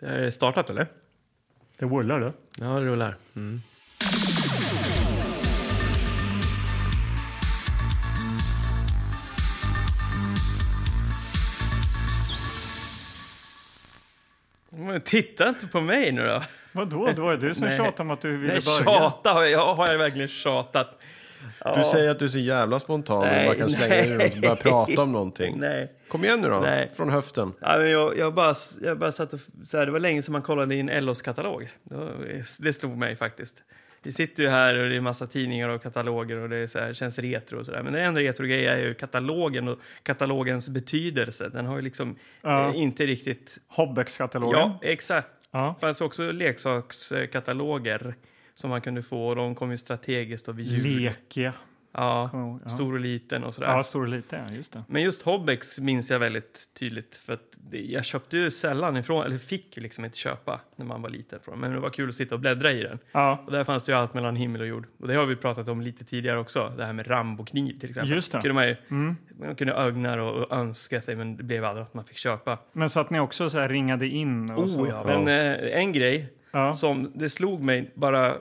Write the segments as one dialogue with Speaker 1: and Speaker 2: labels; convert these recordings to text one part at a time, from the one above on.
Speaker 1: Det här är startat eller?
Speaker 2: Det rullar du.
Speaker 1: Ja, det rullar. Mm. Men titta inte på mig nu då.
Speaker 2: Vadå? Det var ju du som
Speaker 1: Nej.
Speaker 2: tjatade om att du ville
Speaker 1: Nej,
Speaker 2: börja.
Speaker 1: tjata har jag, har jag verkligen tjatat.
Speaker 3: Du säger att du är så jävla spontan
Speaker 1: Nej,
Speaker 3: och bara kan slänga dig
Speaker 1: nej.
Speaker 3: runt och börja prata om någonting.
Speaker 1: Nej.
Speaker 3: Kom igen nu då,
Speaker 1: Nej.
Speaker 3: från höften.
Speaker 1: Ja, men jag, jag, bara, jag bara satt och... Så här, det var länge sedan man kollade i en LOs katalog. Det- Det slog mig faktiskt. Vi sitter ju här och det är massa tidningar och kataloger och det är så här, känns retro och sådär. Men en retro grej är ju katalogen och katalogens betydelse. Den har ju liksom
Speaker 2: Ja.
Speaker 1: eh, inte riktigt...
Speaker 2: Hobbex-katalogen.
Speaker 1: Ja, exakt.
Speaker 2: Ja.
Speaker 1: Det fanns också leksakskataloger som man kunde få och de kom ju strategiskt och vid jul.
Speaker 2: Lekia. Kommer
Speaker 1: Ja,
Speaker 2: jag ihåg, ja.
Speaker 1: stor och liten och sådär.
Speaker 2: Ja, stor och liten. Just det.
Speaker 1: Men just Hobbex minns jag väldigt tydligt för att det- jag köpte ju sällan ifrån, eller fick ju liksom inte köpa när man var liten från. Men det var kul att sitta och bläddra i den.
Speaker 2: Ja,
Speaker 1: Och där fanns det ju allt mellan himmel och jord. Och det har vi pratat om lite tidigare också, det här med Rambokniv till exempel.
Speaker 2: Just det. Mm.
Speaker 1: Kunde man, ju, man kunde ögna och, och önska sig men det blev aldrig att man fick köpa.
Speaker 2: men så att ni också så här ringade in och så.
Speaker 1: Oh, ja. Men eh, en grej
Speaker 2: Ja.
Speaker 1: som det slog mig bara,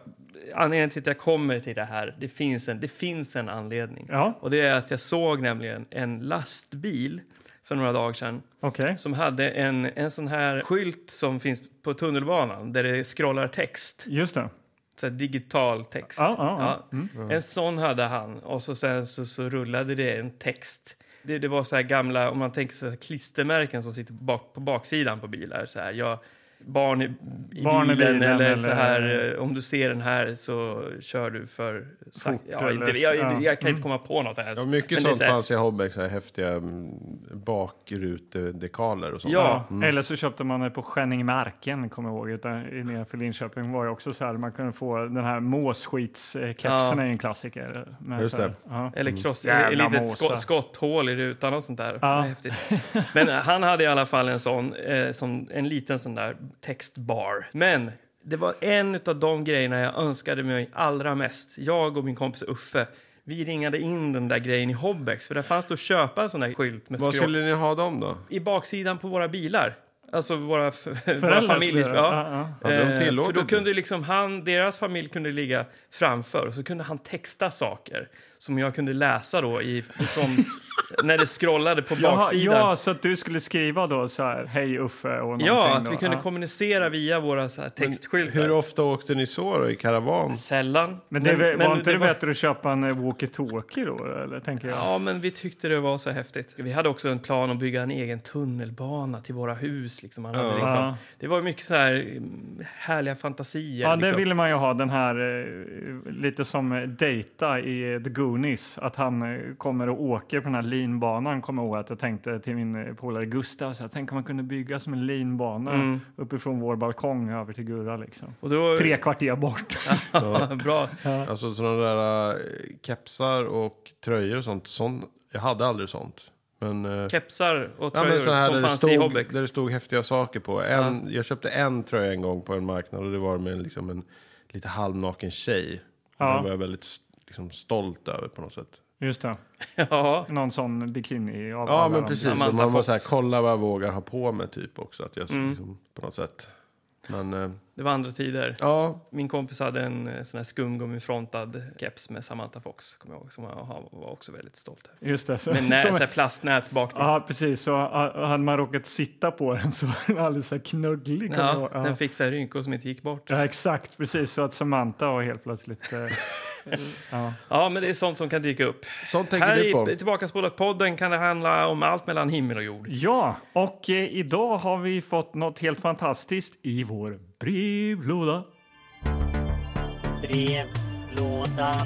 Speaker 1: anledningen till att jag kommer till det här, det finns en, det finns en anledning.
Speaker 2: Ja,
Speaker 1: Och det är att jag såg nämligen en lastbil för några dagar sedan
Speaker 2: okej.
Speaker 1: som hade en, en sån här skylt som finns på tunnelbanan där det scrollar text.
Speaker 2: Just det.
Speaker 1: Så här digital text.
Speaker 2: Ja, ja, ja. Mm.
Speaker 1: En sån hade han och så sen så, så rullade det en text. Det, det var så här gamla, om man tänker sig klistermärken som sitter bak, på baksidan på bilar. Så här, jag, barn i, i,
Speaker 2: Barn
Speaker 1: bilen,
Speaker 2: i bilen
Speaker 1: eller,
Speaker 2: eller-
Speaker 1: så här, eh, om du ser den här så kör du för sak-
Speaker 2: Fort
Speaker 1: ja, inte,
Speaker 2: eller-
Speaker 1: jag,
Speaker 2: ja. Mm.
Speaker 1: jag, kan inte komma på något ens.
Speaker 3: Ja,
Speaker 1: Men
Speaker 3: mycket
Speaker 1: det är
Speaker 3: sånt
Speaker 1: så här-
Speaker 3: fanns i Hobbex, så här häftiga mm, bakrutedekaler och sånt.
Speaker 1: Ja.
Speaker 2: Ja, Eller så köpte man det på Skenningmarken, kommer jag ihåg. Utan, i- nedanför Linköping var det också så här, man kunde få den här måsskitskepsen
Speaker 1: Ja.
Speaker 2: är ju en klassiker. Med
Speaker 3: Just
Speaker 2: så här-
Speaker 3: det.
Speaker 2: Ja.
Speaker 1: Eller kross, ett
Speaker 2: Jävla
Speaker 1: litet
Speaker 2: måsa.
Speaker 1: sko- skotthål i rutan och sånt där.
Speaker 2: Ja.
Speaker 1: Det är häftigt. Men eh, han hade i alla fall en sån, eh, som, en liten sån där textbar. Men det var en av de grejerna jag önskade mig allra mest. Jag och min kompis Uffe, vi ringade in den där grejen i Hobbex för där fanns det att köpa en sån där skylt med
Speaker 3: Vad
Speaker 1: skroll.
Speaker 3: skulle ni ha dem då?
Speaker 1: I baksidan på våra bilar. Alltså våra, f- våra
Speaker 2: Föräldrar
Speaker 1: familjer.
Speaker 2: skulle-
Speaker 1: Ja.
Speaker 2: ja,
Speaker 3: Hade de
Speaker 1: Eh, för
Speaker 3: tillåtit
Speaker 1: då
Speaker 3: det?
Speaker 1: kunde liksom han, deras familj kunde ligga framför och så kunde han texta saker som jag kunde läsa då i, från, när det scrollade på
Speaker 2: Jaha,
Speaker 1: baksidan.
Speaker 2: ja, så att du skulle skriva då så här, hej Uffe och
Speaker 1: ja,
Speaker 2: någonting
Speaker 1: att
Speaker 2: då.
Speaker 1: vi kunde
Speaker 2: Ja.
Speaker 1: kommunicera via våra så här textskyltar.
Speaker 3: Hur ofta åkte ni så då, i karavan?
Speaker 1: Sällan.
Speaker 2: Men, det, var inte det
Speaker 1: var-
Speaker 2: bättre att köpa en eh, walkie-talkie då? Eller, tänker jag.
Speaker 1: Ja, men vi tyckte det var så häftigt. Vi hade också en plan att bygga en egen tunnelbana till våra hus. Liksom. Han hade
Speaker 3: Ja.
Speaker 1: liksom, det var mycket så här mm, härliga fantasier.
Speaker 2: Ja, det
Speaker 1: liksom.
Speaker 2: ville man ju ha, den här eh, lite som eh, Data i eh, The Goonies. Att han eh, kommer och åker på den här linbanan, kommer jag ihåg att jag tänkte till min eh, polare Gustav. Så här, Tänk om man kunde bygga som en linbana
Speaker 1: Mm.
Speaker 2: uppifrån vår balkong över till Gurra liksom.
Speaker 1: Och då,
Speaker 2: Tre kvarter bort.
Speaker 1: bra.
Speaker 3: Alltså sådana där eh, kepsar och tröjor och sånt. sånt jag hade aldrig sånt. Men, eh,
Speaker 1: Kepsar och
Speaker 3: ja,
Speaker 1: tröjor
Speaker 3: men såna här
Speaker 1: som
Speaker 3: där, det
Speaker 1: fanns i
Speaker 3: stod,
Speaker 1: Hobbex.
Speaker 3: där det stod häftiga saker på. En, Jag köpte en tröja en gång på en marknad och det var med liksom en lite halvnaken tjej.
Speaker 2: Ja.
Speaker 3: Ja. Den var jag väldigt s- liksom, stolt över på något sätt.
Speaker 2: Just det,
Speaker 1: Ja.
Speaker 2: någon sån bikini. Av
Speaker 3: Ja,
Speaker 2: alla
Speaker 3: men
Speaker 2: de-
Speaker 3: precis.
Speaker 1: Amanda
Speaker 3: Och man var så här,
Speaker 1: Fox.
Speaker 3: kolla vad jag vågar ha på mig typ också. Att jag
Speaker 1: Mm.
Speaker 3: liksom, på något sätt. Men eh,
Speaker 1: Det var andra tider.
Speaker 3: ja,
Speaker 1: Min kompis hade en eh, sån här skumgummifrontad keps med Samantha Fox, kommer jag ihåg, som jag ha- var också väldigt stolt över.
Speaker 2: Just det. Så,
Speaker 1: Med nä,
Speaker 2: som-
Speaker 1: så här plastnät bak till.
Speaker 2: Ja, precis. Så ah, hade man råkat sitta på den så var den alldeles så här knugglig. kan jag
Speaker 1: Ja,
Speaker 2: ihåg. Ja.
Speaker 1: Den fick så här rynkor som inte gick bort.
Speaker 2: Ja, exakt. Precis, så att Samantha har helt plötsligt... Eh, ja.
Speaker 1: Ja, men det är sånt som kan dyka upp.
Speaker 3: sånt tänker
Speaker 1: Här
Speaker 3: du på.
Speaker 1: i Tillbakaspolat-podden kan det handla om allt mellan himmel och jord.
Speaker 2: ja, och eh, idag har vi fått något helt fantastiskt i vår brevlåda.
Speaker 4: brevlådan.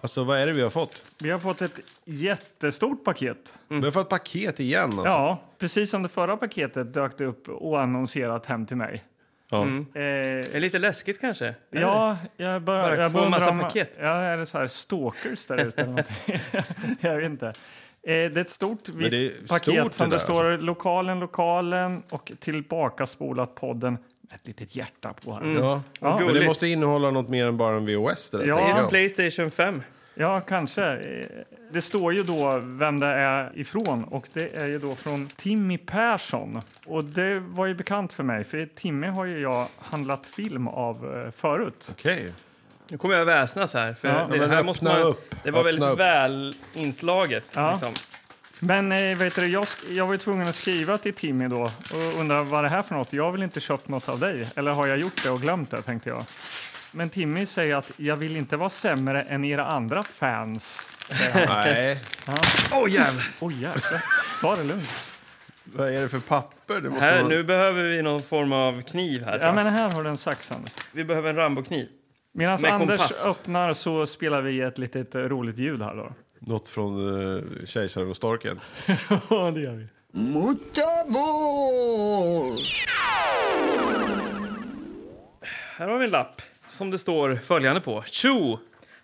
Speaker 3: Alltså vad är det vi har fått?
Speaker 2: Vi har fått ett jättestort paket.
Speaker 1: Mm.
Speaker 3: Vi har fått paket igen. Alltså.
Speaker 2: Ja, precis som det förra paketet dök det upp oannonserat hem till mig.
Speaker 3: Ja.
Speaker 1: Mm.
Speaker 2: Eh,
Speaker 1: Det är lite läskigt kanske. Är det?
Speaker 2: Ja, jag bör,
Speaker 1: Bara
Speaker 2: jag
Speaker 1: få
Speaker 2: bör
Speaker 1: en massa
Speaker 2: undra om-
Speaker 1: paket.
Speaker 2: Ja, är det så här stalkers där ute? eller någonting? jag vet inte. Eh, Det är ett stort vitt
Speaker 3: det är
Speaker 2: paket som
Speaker 3: stort det
Speaker 2: det
Speaker 3: där,
Speaker 2: står
Speaker 3: alltså.
Speaker 2: lokalen, lokalen och tillbaka spolat podden med ett litet hjärta på här.
Speaker 1: Mm.
Speaker 3: Ja.
Speaker 2: Ja.
Speaker 3: Men
Speaker 1: Gulligt.
Speaker 3: det måste innehålla något mer än bara en VHS. Det där,
Speaker 2: Ja.
Speaker 3: tänker
Speaker 1: Det är
Speaker 3: jag.
Speaker 1: en Playstation 5.
Speaker 2: Ja, kanske. Eh, Det står ju då vem det är ifrån och det är ju då från Timmy Persson. Och det var ju bekant för mig för Timmy har ju jag handlat film av eh, förut.
Speaker 3: Okej.
Speaker 1: Nu kommer jag att väsnas här. För
Speaker 2: Ja,
Speaker 1: det,
Speaker 3: men
Speaker 1: här måste
Speaker 3: öppna
Speaker 1: man,
Speaker 3: upp.
Speaker 1: det var väldigt
Speaker 3: Öppna upp.
Speaker 1: väl inslaget.
Speaker 2: Ja.
Speaker 1: Liksom.
Speaker 2: Men eh, vet du, jag, sk- jag var ju tvungen att skriva till Timmy då och undra vad det här för något. Jag har väl inte köpt något av dig? Eller har jag gjort det och glömt det? tänkte jag. Men Timmy säger att jag vill inte vara sämre än era andra fans.
Speaker 3: Nej.
Speaker 1: Åh, jävlar!
Speaker 2: Oj jäklar, ta det lugnt.
Speaker 3: Vad är det för papper? Det måste
Speaker 1: Här,
Speaker 3: vara-
Speaker 1: nu behöver vi någon form av kniv här. tror
Speaker 2: Ja
Speaker 1: jag.
Speaker 2: men här har du en sax Anders.
Speaker 1: Vi behöver en Rambo-kniv.
Speaker 2: Medan
Speaker 1: Med
Speaker 2: Anders
Speaker 1: kompass.
Speaker 2: öppnar så spelar vi ett litet eh, roligt ljud här då.
Speaker 3: Något från uh, Kejsaren och storken.
Speaker 2: Ja, det gör vi.
Speaker 1: Här har vi en lapp som det står följande på. Tjo!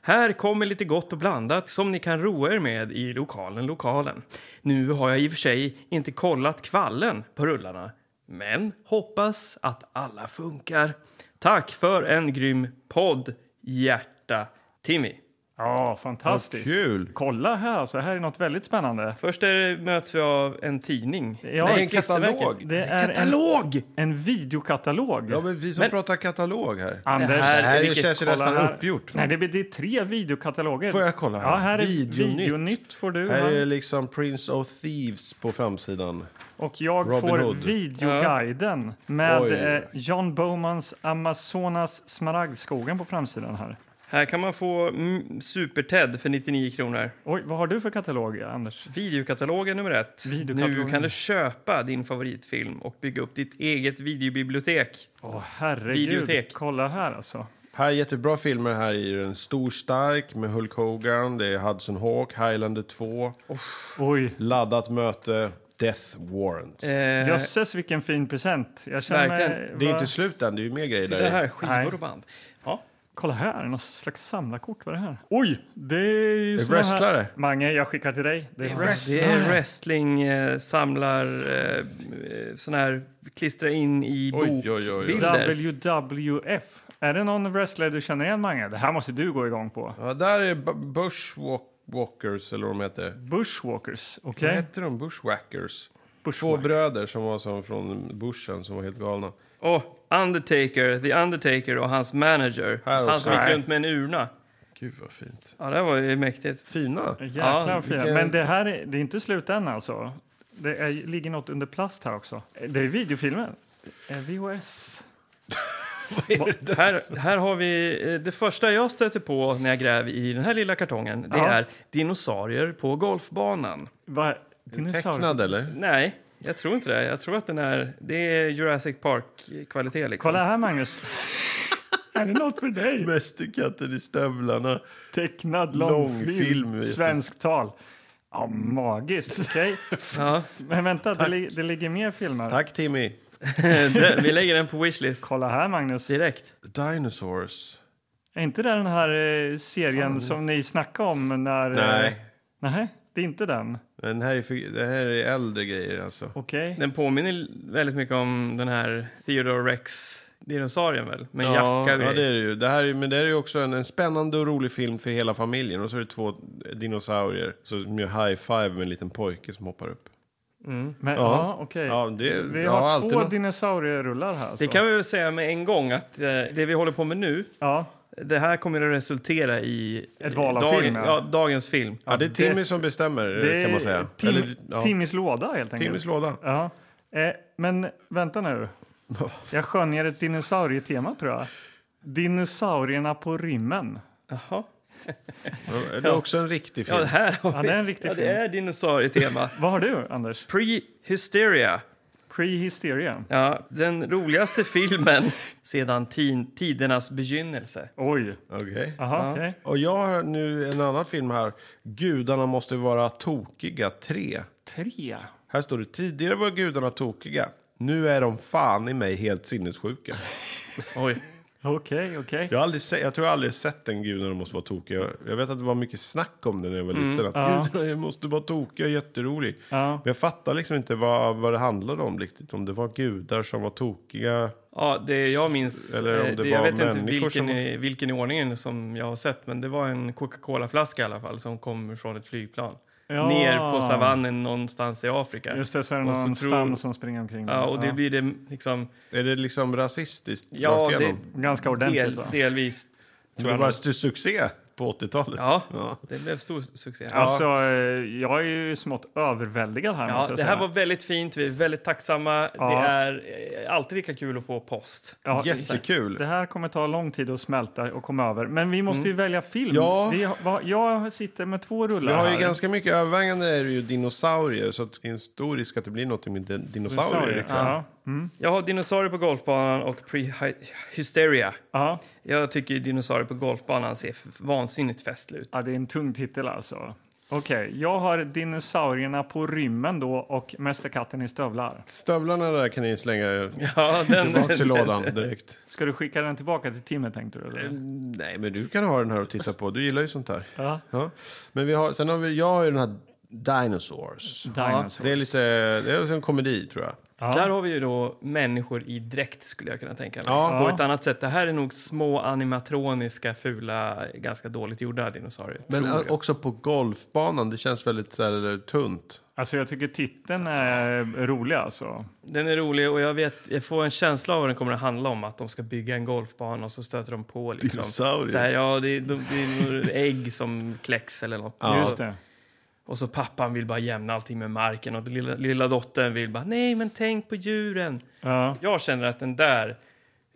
Speaker 1: Här kommer lite gott och blandat som ni kan roa er med i lokalen lokalen. Nu har jag i och för sig inte kollat kvallen på rullarna, men hoppas att alla funkar. Tack för en grym podd, hjärta Timmy.
Speaker 2: Ja, fantastiskt.
Speaker 3: Kul!
Speaker 2: Kolla här, alltså, här är något väldigt spännande.
Speaker 1: Först är det, möts vi av en tidning.
Speaker 2: Ja,
Speaker 3: Det är en
Speaker 1: klistermärken.
Speaker 3: katalog.
Speaker 2: det är en,
Speaker 1: Katalog!
Speaker 2: en videokatalog.
Speaker 3: Ja, men vi som
Speaker 1: Men-
Speaker 3: pratar katalog här.
Speaker 2: Anders,
Speaker 1: Det
Speaker 3: Det
Speaker 1: här-
Speaker 3: här
Speaker 1: vilket-
Speaker 3: känns ju
Speaker 2: kolla
Speaker 3: nästan
Speaker 2: här.
Speaker 3: uppgjort.
Speaker 2: Nej, det, är- det är tre videokataloger.
Speaker 3: Får jag kolla här?
Speaker 2: Ja, här är
Speaker 3: Videonytt.
Speaker 2: videonytt. får du.
Speaker 3: Här är
Speaker 2: här.
Speaker 3: det liksom Prince of Thieves på framsidan.
Speaker 2: Och jag
Speaker 3: Robin
Speaker 2: får
Speaker 3: Hood.
Speaker 2: videoguiden med
Speaker 3: Oj.
Speaker 2: eh, John Bowmans Amazonas smaragdskogen på framsidan här.
Speaker 1: Här kan man få mm, Super-Ted för 99 kronor.
Speaker 2: Oj, vad har du för katalog, Anders?
Speaker 1: Videokatalogen nummer ett.
Speaker 2: Videokatalogen.
Speaker 1: Nu kan du köpa din favoritfilm och bygga upp ditt eget videobibliotek.
Speaker 2: Åh, herregud.
Speaker 1: Videotek.
Speaker 2: Kolla här alltså.
Speaker 3: Här är jättebra filmer. Här är ju en stor stark med Hulk Hogan. Det är Hudson Hawk, Highlander 2,
Speaker 2: Oj,
Speaker 3: Laddat möte, Death Warrant.
Speaker 1: Eh,
Speaker 2: jösses vilken fin present. Jag känner
Speaker 1: Verkligen.
Speaker 3: det är
Speaker 2: va-
Speaker 3: ju inte slut än, det är ju mer grejer där
Speaker 1: titta
Speaker 3: i.
Speaker 1: här, skivor
Speaker 2: Nej.
Speaker 1: och band. Ja.
Speaker 2: Kolla här, någon slags samlarkort. Vad är det här? Oj, det är ju
Speaker 3: Det är
Speaker 2: såna här-
Speaker 3: wrestlare.
Speaker 2: Mange, jag skickar till dig. Det är wrest-
Speaker 1: Det är wrestling, eh, samlar, eh, sån här, klistra in i
Speaker 3: Oj,
Speaker 1: bokbilder.
Speaker 3: oj, oj, oj.
Speaker 2: WWF. Är det någon wrestler du känner igen, Mange? Det här måste du gå igång på.
Speaker 3: Ja, där är Bu- Bushwalkers, eller vad de heter.
Speaker 2: Bushwalkers, okej?
Speaker 3: Vad heter de? Bushwhackers? Två
Speaker 2: Bushwalk.
Speaker 3: bröder som var som från bushen som var helt galna.
Speaker 1: Och Undertaker, The Undertaker och hans manager.
Speaker 3: Här
Speaker 1: han
Speaker 3: också.
Speaker 1: som gick
Speaker 2: Nej.
Speaker 1: runt med en urna.
Speaker 3: Gud vad fint.
Speaker 1: Ja, det här var ju mäktigt.
Speaker 3: Fina.
Speaker 2: Jäklar
Speaker 1: Ja,
Speaker 2: vad fina.
Speaker 3: vilken-
Speaker 2: Men det här är, det är inte slut än alltså. Det är, ligger något under plast här också. Det är videofilmen. Det är VHS.
Speaker 1: Här, här har vi eh, det första jag stöter på när jag gräver i den här lilla kartongen. Det
Speaker 2: Ja.
Speaker 1: är dinosaurier på golfbanan.
Speaker 2: Vad-
Speaker 3: Tecknad eller?
Speaker 1: Nej, jag tror inte det. Jag tror att den är... Det är Jurassic Park-kvalitet liksom.
Speaker 2: Kolla här, Magnus. är det något för dig?
Speaker 3: Mästerkatten i stövlarna.
Speaker 2: Tecknad
Speaker 3: Långfilm,
Speaker 2: långfilm,
Speaker 3: vet du.
Speaker 2: svensk tal. Ja, magiskt. Okej.
Speaker 1: Ja,
Speaker 2: Men vänta, det, li- det ligger mer filmer.
Speaker 3: Tack Timmy.
Speaker 1: det- vi lägger den på wishlist
Speaker 2: Kolla här, Magnus.
Speaker 1: direkt.
Speaker 3: Dinosaurs.
Speaker 2: Är inte det den här eh, serien som ni snackade om? När, eh,
Speaker 3: Nej.
Speaker 2: Nej, det är inte den.
Speaker 3: Den här, är för, det här är äldre grejer alltså.
Speaker 2: Okej.
Speaker 1: Den påminner väldigt mycket om den här Theodore Rex dinosaurien väl? Med en
Speaker 3: Ja,
Speaker 1: jacka och
Speaker 3: ja, det
Speaker 1: grejer.
Speaker 3: är det ju. Det här, är- men det här är ju också en, en spännande och rolig film för hela familjen. Och så är det två dinosaurier som gör high-five med en liten pojke som hoppar upp.
Speaker 1: Mm.
Speaker 2: Men,
Speaker 3: Ja.
Speaker 2: ja, okej.
Speaker 3: Ja, det,
Speaker 2: Vi
Speaker 3: jag
Speaker 2: har
Speaker 3: alltid
Speaker 2: två
Speaker 3: något-
Speaker 2: dinosaurierullar här.
Speaker 1: Det
Speaker 2: så.
Speaker 1: kan vi väl säga med en gång att eh, det vi håller på med nu,
Speaker 2: Ja.
Speaker 1: det här kommer att resultera i
Speaker 2: Ett val av film,
Speaker 1: ja.
Speaker 2: ja.
Speaker 1: dagens film.
Speaker 3: Ja, det är Timmy som bestämmer
Speaker 2: Det
Speaker 3: Eh, kan man
Speaker 2: är
Speaker 3: säga.
Speaker 2: Tim,
Speaker 3: Eller, ja,
Speaker 2: Timmys låda, helt enkelt.
Speaker 3: Timmys låda.
Speaker 2: Ja. Eh, men vänta nu. Jag skönjer ett dinosaurietema, tror jag. Dinosaurierna på rymmen.
Speaker 1: Jaha.
Speaker 3: Ja, Det är också en riktig
Speaker 1: Ja,
Speaker 3: film.
Speaker 1: det här har vi.
Speaker 2: Ja, det är en riktig
Speaker 1: ja, det
Speaker 2: film.
Speaker 1: är dinosaurietema.
Speaker 2: Vad har du, Anders?
Speaker 1: Pre-hysteria.
Speaker 2: Prehysteria.
Speaker 1: Ja, den roligaste filmen sedan tin- tidernas begynnelse.
Speaker 2: Oj.
Speaker 3: Okej.
Speaker 2: Aha, okej.
Speaker 3: Och jag har nu en annan film här. Gudarna måste vara tokiga 3.
Speaker 2: Tre.
Speaker 3: Här står det tidigare var gudarna tokiga. Nu är de fan i mig helt sinnessjuka.
Speaker 1: Oj.
Speaker 2: Okej, okej.
Speaker 3: Jag, har aldrig se, jag tror jag aldrig sett en gudarna måste vara tokiga. Jag, jag vet att det var mycket snack om det när jag
Speaker 1: Mm.
Speaker 3: var liten. Att gudarna måste vara tokiga, jätterolig.
Speaker 2: Ja.
Speaker 3: Men jag fattar liksom inte vad, vad det handlade om riktigt. Om det var gudar som var tokiga
Speaker 1: Ja, det jag minns,
Speaker 3: Eller om
Speaker 1: eh,
Speaker 3: det
Speaker 1: jag
Speaker 3: var
Speaker 1: vet inte
Speaker 3: människor
Speaker 1: vilken,
Speaker 3: som-
Speaker 1: i, vilken i ordningen som jag har sett, men det var en Coca-Cola-flaska i alla fall som kom från ett flygplan.
Speaker 2: Ja.
Speaker 1: Ner på savannen någonstans i Afrika.
Speaker 2: Just det, så är det
Speaker 1: Och så
Speaker 2: någon
Speaker 1: tror-
Speaker 2: stam som springer omkring.
Speaker 1: Ja, och det blir det liksom,
Speaker 3: Är det liksom rasistiskt?
Speaker 1: ja,
Speaker 3: rakt
Speaker 1: det,
Speaker 3: igenom?
Speaker 2: Ganska ordentligt
Speaker 1: del,
Speaker 2: va?
Speaker 1: delvis.
Speaker 3: Det var bara st- succé på 80-talet.
Speaker 1: Ja. Det blev stor succé.
Speaker 2: Alltså, eh, jag är ju smått överväldigad här måste
Speaker 1: Ja,
Speaker 2: jag
Speaker 1: det
Speaker 2: säga.
Speaker 1: här var väldigt fint. Vi är väldigt tacksamma.
Speaker 2: Ja.
Speaker 1: Det är eh, alltid lika kul att få post.
Speaker 2: Ja,
Speaker 3: Jättekul.
Speaker 2: Det här kommer ta lång tid att smälta och komma över. Men vi måste ju välja film.
Speaker 3: Ja.
Speaker 2: Vi, har- va, jag sitter med två
Speaker 3: Vi
Speaker 2: rullar
Speaker 3: har ju
Speaker 2: här.
Speaker 3: ganska mycket övervägande är det ju dinosaurier så att det är en stor risk att det blir något med din- dinosaurier. ikväll.
Speaker 2: Ja.
Speaker 1: Jag har dinosaurier på golfbanan och pre-hysteria.
Speaker 2: Ja.
Speaker 1: Jag tycker dinosaurier på golfbanan ser f- vansinnigt festlig ut.
Speaker 2: ja, det är en tung titel alltså. Okej, jag har dinosaurierna på rymmen då och Mästerkatten i stövlar.
Speaker 3: Stövlarna där kan ni slänga
Speaker 1: Ja, den,
Speaker 3: tillbaka i lådan direkt.
Speaker 2: Ska du skicka den tillbaka till Timmy tänkte du?
Speaker 3: Mm.
Speaker 2: Eller?
Speaker 3: Nej, men du kan ha den här och titta på. Du gillar ju sånt här.
Speaker 2: Ja.
Speaker 3: Ja. Men vi har, sen har vi, jag har ju den här Dinosaurs.
Speaker 2: Dinosaurs.
Speaker 3: Det är lite, det är en komedi tror jag.
Speaker 1: Där har vi ju då människor i dräkt skulle jag kunna tänka mig.
Speaker 3: Ja.
Speaker 1: På
Speaker 2: Ja.
Speaker 1: ett annat sätt. Det här är nog små animatroniska, fula, ganska dåligt gjorda dinosaurier.
Speaker 3: Men eh,
Speaker 1: tror jag.
Speaker 3: också på golfbanan, det känns väldigt så här, tunt.
Speaker 2: Alltså jag tycker titeln är rolig alltså.
Speaker 1: Den är rolig och jag, vet, jag får en känsla av vad den kommer att handla om. Att de ska bygga en golfbana och så stöter de på liksom.
Speaker 3: Dinosaurier.
Speaker 1: Så här, ja, det, är- de, det är några ägg som kläcks eller något.
Speaker 3: Ja.
Speaker 2: Just det.
Speaker 1: Och så pappan vill bara jämna allting med marken och den lilla, lilla dottern vill bara nej men tänk på djuren.
Speaker 2: Ja.
Speaker 1: Jag känner att den där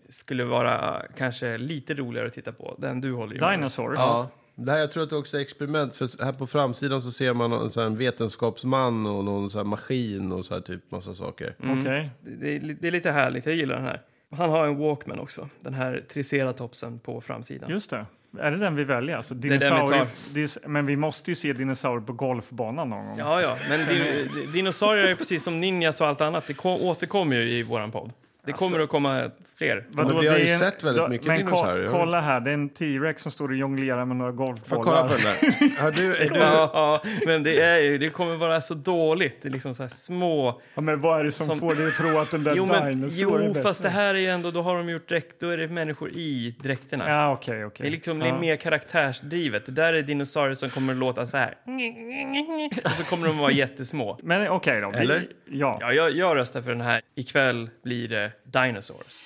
Speaker 1: skulle vara eh, kanske lite roligare att titta på. Den du håller i Magnus.
Speaker 2: Dinosaurs.
Speaker 3: Ja. Det här, jag tror att det också är experiment, för här på framsidan så ser man en, så här, en vetenskapsman och någon så här, maskin och så här typ massa saker.
Speaker 1: Mm.
Speaker 2: Okej.
Speaker 1: Det, är li- det är lite härligt, jag gillar den här. Han har en Walkman också, den här triceratopsen på framsidan.
Speaker 2: Just det. Är det den vi väljer? Alltså,
Speaker 1: är den vi
Speaker 2: dinosaurier, dis- men vi måste ju se dinosaurier på golfbanan någon gång.
Speaker 1: Ja, ja, men din, di- dinosaurier är precis som ninjas och allt annat. Det ko- återkommer ju i våran podd. Det kommer att komma fler.
Speaker 2: Vadå,
Speaker 3: Men Alltså, vi har ju
Speaker 2: det är-
Speaker 3: sett väldigt
Speaker 2: då-
Speaker 3: mycket
Speaker 2: men ko-
Speaker 3: dinosaurier.
Speaker 2: Kolla här, det är en T-rex som står och jonglerar med några
Speaker 3: Får jag kolla på
Speaker 2: golfbollar.
Speaker 3: den där? Har du, är du,
Speaker 1: Ja, ja, men det, är, ju- det kommer vara så dåligt. Det är liksom så här små...
Speaker 2: Ja, men vad är det som,
Speaker 1: Som-
Speaker 2: får dig att tro att den där
Speaker 1: Jo, men,
Speaker 2: dinosaurien
Speaker 1: jo
Speaker 2: är
Speaker 1: fast det här är ju ändå... Då har de gjort dräkt, då är det människor i dräkterna.
Speaker 2: Ja, okej, okej.
Speaker 1: Det är liksom
Speaker 2: ja.
Speaker 1: mer karaktärsdrivet. Det där är dinosaurier som kommer att låta så här. Och så kommer de att vara jättesmå.
Speaker 2: Men okej då. Vi,
Speaker 3: Eller?
Speaker 2: Ja.
Speaker 1: Ja, jag, jag röstar för den här. Ikväll blir det Dinosaurs.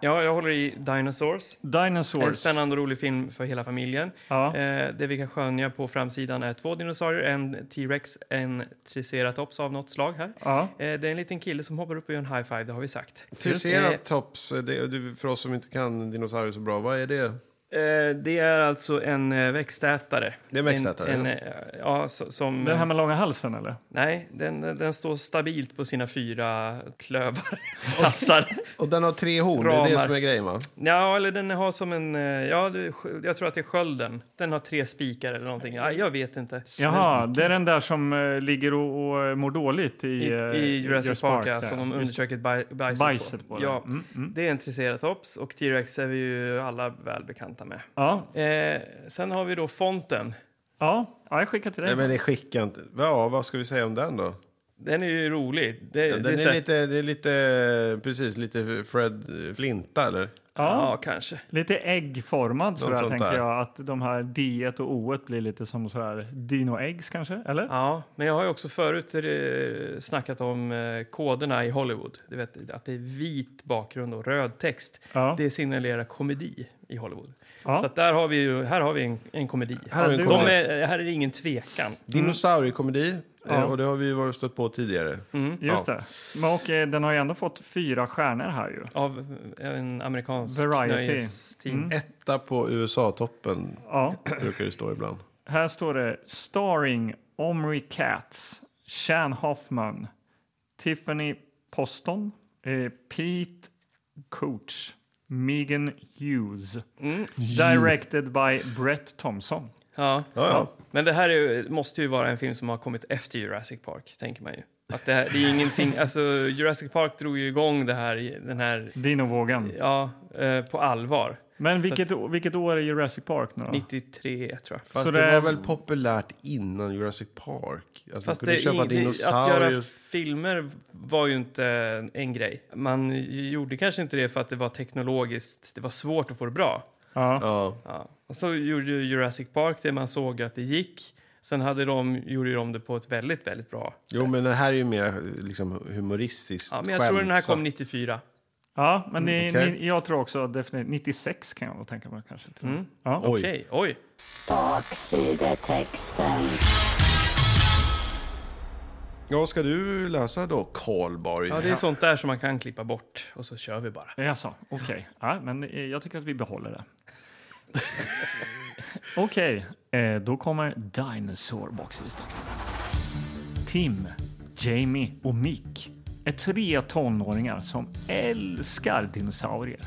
Speaker 1: Ja, jag håller i Dinosaurs. En
Speaker 2: Dinosaurs.
Speaker 1: spännande och rolig film för hela familjen.
Speaker 2: Ja.
Speaker 1: Eh, det vi kan skönja på framsidan är två dinosaurier, en T-rex, en triceratops av något slag här.
Speaker 2: Ja.
Speaker 1: Eh, det är en liten kille som hoppar upp och gör en high five, det har vi sagt. Eh,
Speaker 3: Triceratops, det, det, för oss som inte kan dinosaurier så bra, vad är det?
Speaker 1: Eh, det är alltså en eh, växtätare.
Speaker 3: Det är en växtätare,
Speaker 1: En, en, eh, ja, so- som...
Speaker 2: Den här med långa halsen eller?
Speaker 1: Nej, den, den står stabilt på sina fyra klövar, tassar.
Speaker 3: Och den har tre horn, det är det
Speaker 1: Ramar.
Speaker 3: som är grejen va?
Speaker 1: Ja, eller den har som en... eh, Ja, det- sk- jag tror att det är skölden. Den har tre spikar eller någonting. Ja, jag vet inte.
Speaker 2: Jaha, det är den där som eh, ligger och, och mår dåligt i,
Speaker 1: I,
Speaker 2: eh,
Speaker 1: I Jurassic Park, ja, som de
Speaker 2: Just
Speaker 1: undersöker baj, bajset,
Speaker 2: Bajset på den.
Speaker 1: Ja,
Speaker 2: Mm, mm.
Speaker 1: det är en triceratops och T-rex är vi ju alla väl bekanta med.
Speaker 2: Ja,
Speaker 1: Eh, sen har vi då fonten.
Speaker 2: ja, ja, jag skickar till dig.
Speaker 3: Nej men det skickar inte. Ja, vad ska vi säga om den då?
Speaker 1: Den är ju rolig. Det,
Speaker 3: Den
Speaker 1: det
Speaker 3: är,
Speaker 1: så här-
Speaker 3: lite, det är lite, precis, lite Fred eh, Flinta eller?
Speaker 2: ja.
Speaker 1: Ja, kanske.
Speaker 2: Lite äggformad sådär
Speaker 3: sånt
Speaker 2: tänker
Speaker 3: där.
Speaker 2: jag att de här D et och O et blir lite som sådär dinoäggs kanske, eller?
Speaker 1: Ja, men jag har ju också förut eh, snackat om eh, koderna i Hollywood. Du vet, att det är vit bakgrund och röd text.
Speaker 2: Ja.
Speaker 1: Det signalerar komedi i Hollywood.
Speaker 2: Ja.
Speaker 1: Så att där har vi ju, här har vi en, en komedi.
Speaker 3: Här har vi en
Speaker 2: du-
Speaker 1: De
Speaker 3: komedi.
Speaker 1: är, Mm. här är det ingen tvekan.
Speaker 3: Dinosauriekomedi. eh,
Speaker 2: Ja.
Speaker 3: Och det har vi ju varit stött på tidigare.
Speaker 1: Mm.
Speaker 2: Just det. Men och eh, den har ju ändå fått fyra stjärnor här ju.
Speaker 1: Av en amerikansk
Speaker 2: Variety.
Speaker 1: nöjestidning.
Speaker 3: Etta på USA-toppen
Speaker 2: Ja.
Speaker 3: brukar det stå ibland.
Speaker 2: Här står det Starring Omri Katz, Shan Hoffman, Tiffany Poston, eh, Pete Coach, Megan Hughes. Directed by Brett Thompson.
Speaker 1: Mm. Ja.
Speaker 3: Ja, ja.
Speaker 1: Men det här är, ju- måste ju vara en film som har kommit efter Jurassic Park, tänker man ju. Att det, här, det är ingenting, alltså Jurassic Park drog ju igång det här, den här
Speaker 2: Dinovågen.
Speaker 1: Ja, eh, på allvar.
Speaker 2: Men vilket, å- vilket år är Jurassic Park nu då?
Speaker 1: 93 tror jag.
Speaker 3: Fast
Speaker 2: Så
Speaker 3: det,
Speaker 2: det-
Speaker 3: var väl populärt innan Jurassic Park? Alltså,
Speaker 1: Fast
Speaker 3: man kunde
Speaker 1: det,
Speaker 3: köpa
Speaker 1: ing- det, att
Speaker 3: dinosaurier.
Speaker 1: göra filmer var ju inte en grej. Man gjorde kanske inte det för att det var teknologiskt, det var svårt att få det bra.
Speaker 2: Ja.
Speaker 3: Ja.
Speaker 1: Ja. Och så gjorde ju Jurassic Park det man såg att det gick. Sen hade de, gjorde de det på ett väldigt, väldigt bra
Speaker 3: Jo,
Speaker 1: sätt.
Speaker 3: men det här är ju mer liksom, humoristiskt.
Speaker 1: ja, men jag tror den här
Speaker 3: skämtsamt.
Speaker 1: kom 94.
Speaker 2: ja, men ni,
Speaker 3: Mm, okej.
Speaker 2: ni, jag tror också definitivt 96 kan jag nog tänka mig kanske. till och med.
Speaker 1: Mm.
Speaker 2: Ja.
Speaker 3: Oj.
Speaker 1: Okej, oj.
Speaker 4: Baksidetexten.
Speaker 3: Ja, ska du läsa då Karlborg?
Speaker 1: Ja, det är sånt där som man kan klippa bort och så kör vi bara.
Speaker 2: Jaså, okej. Ja, men eh, jag tycker att vi behåller det. okej, eh, då kommer Dinosaur Baksidestexten. Tim, Jamie och Mick är tre tonåringar som älskar dinosaurier.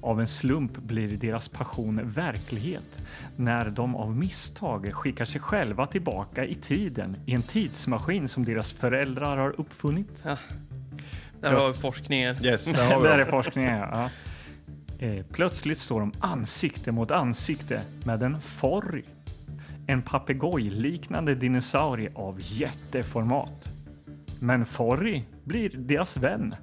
Speaker 2: Av en slump blir deras passion verklighet när de av misstag skickar sig själva tillbaka i tiden i en tidsmaskin som deras föräldrar har uppfunnit.
Speaker 1: Där har vi forskningen.
Speaker 3: Yes, där har vi
Speaker 2: Där
Speaker 3: dem.
Speaker 2: är forskningen, ja. ja. Eh, Plötsligt står de ansikte mot ansikte med en forry. En papegojliknande dinosaurie av jätteformat. Men Forry blir deras vän.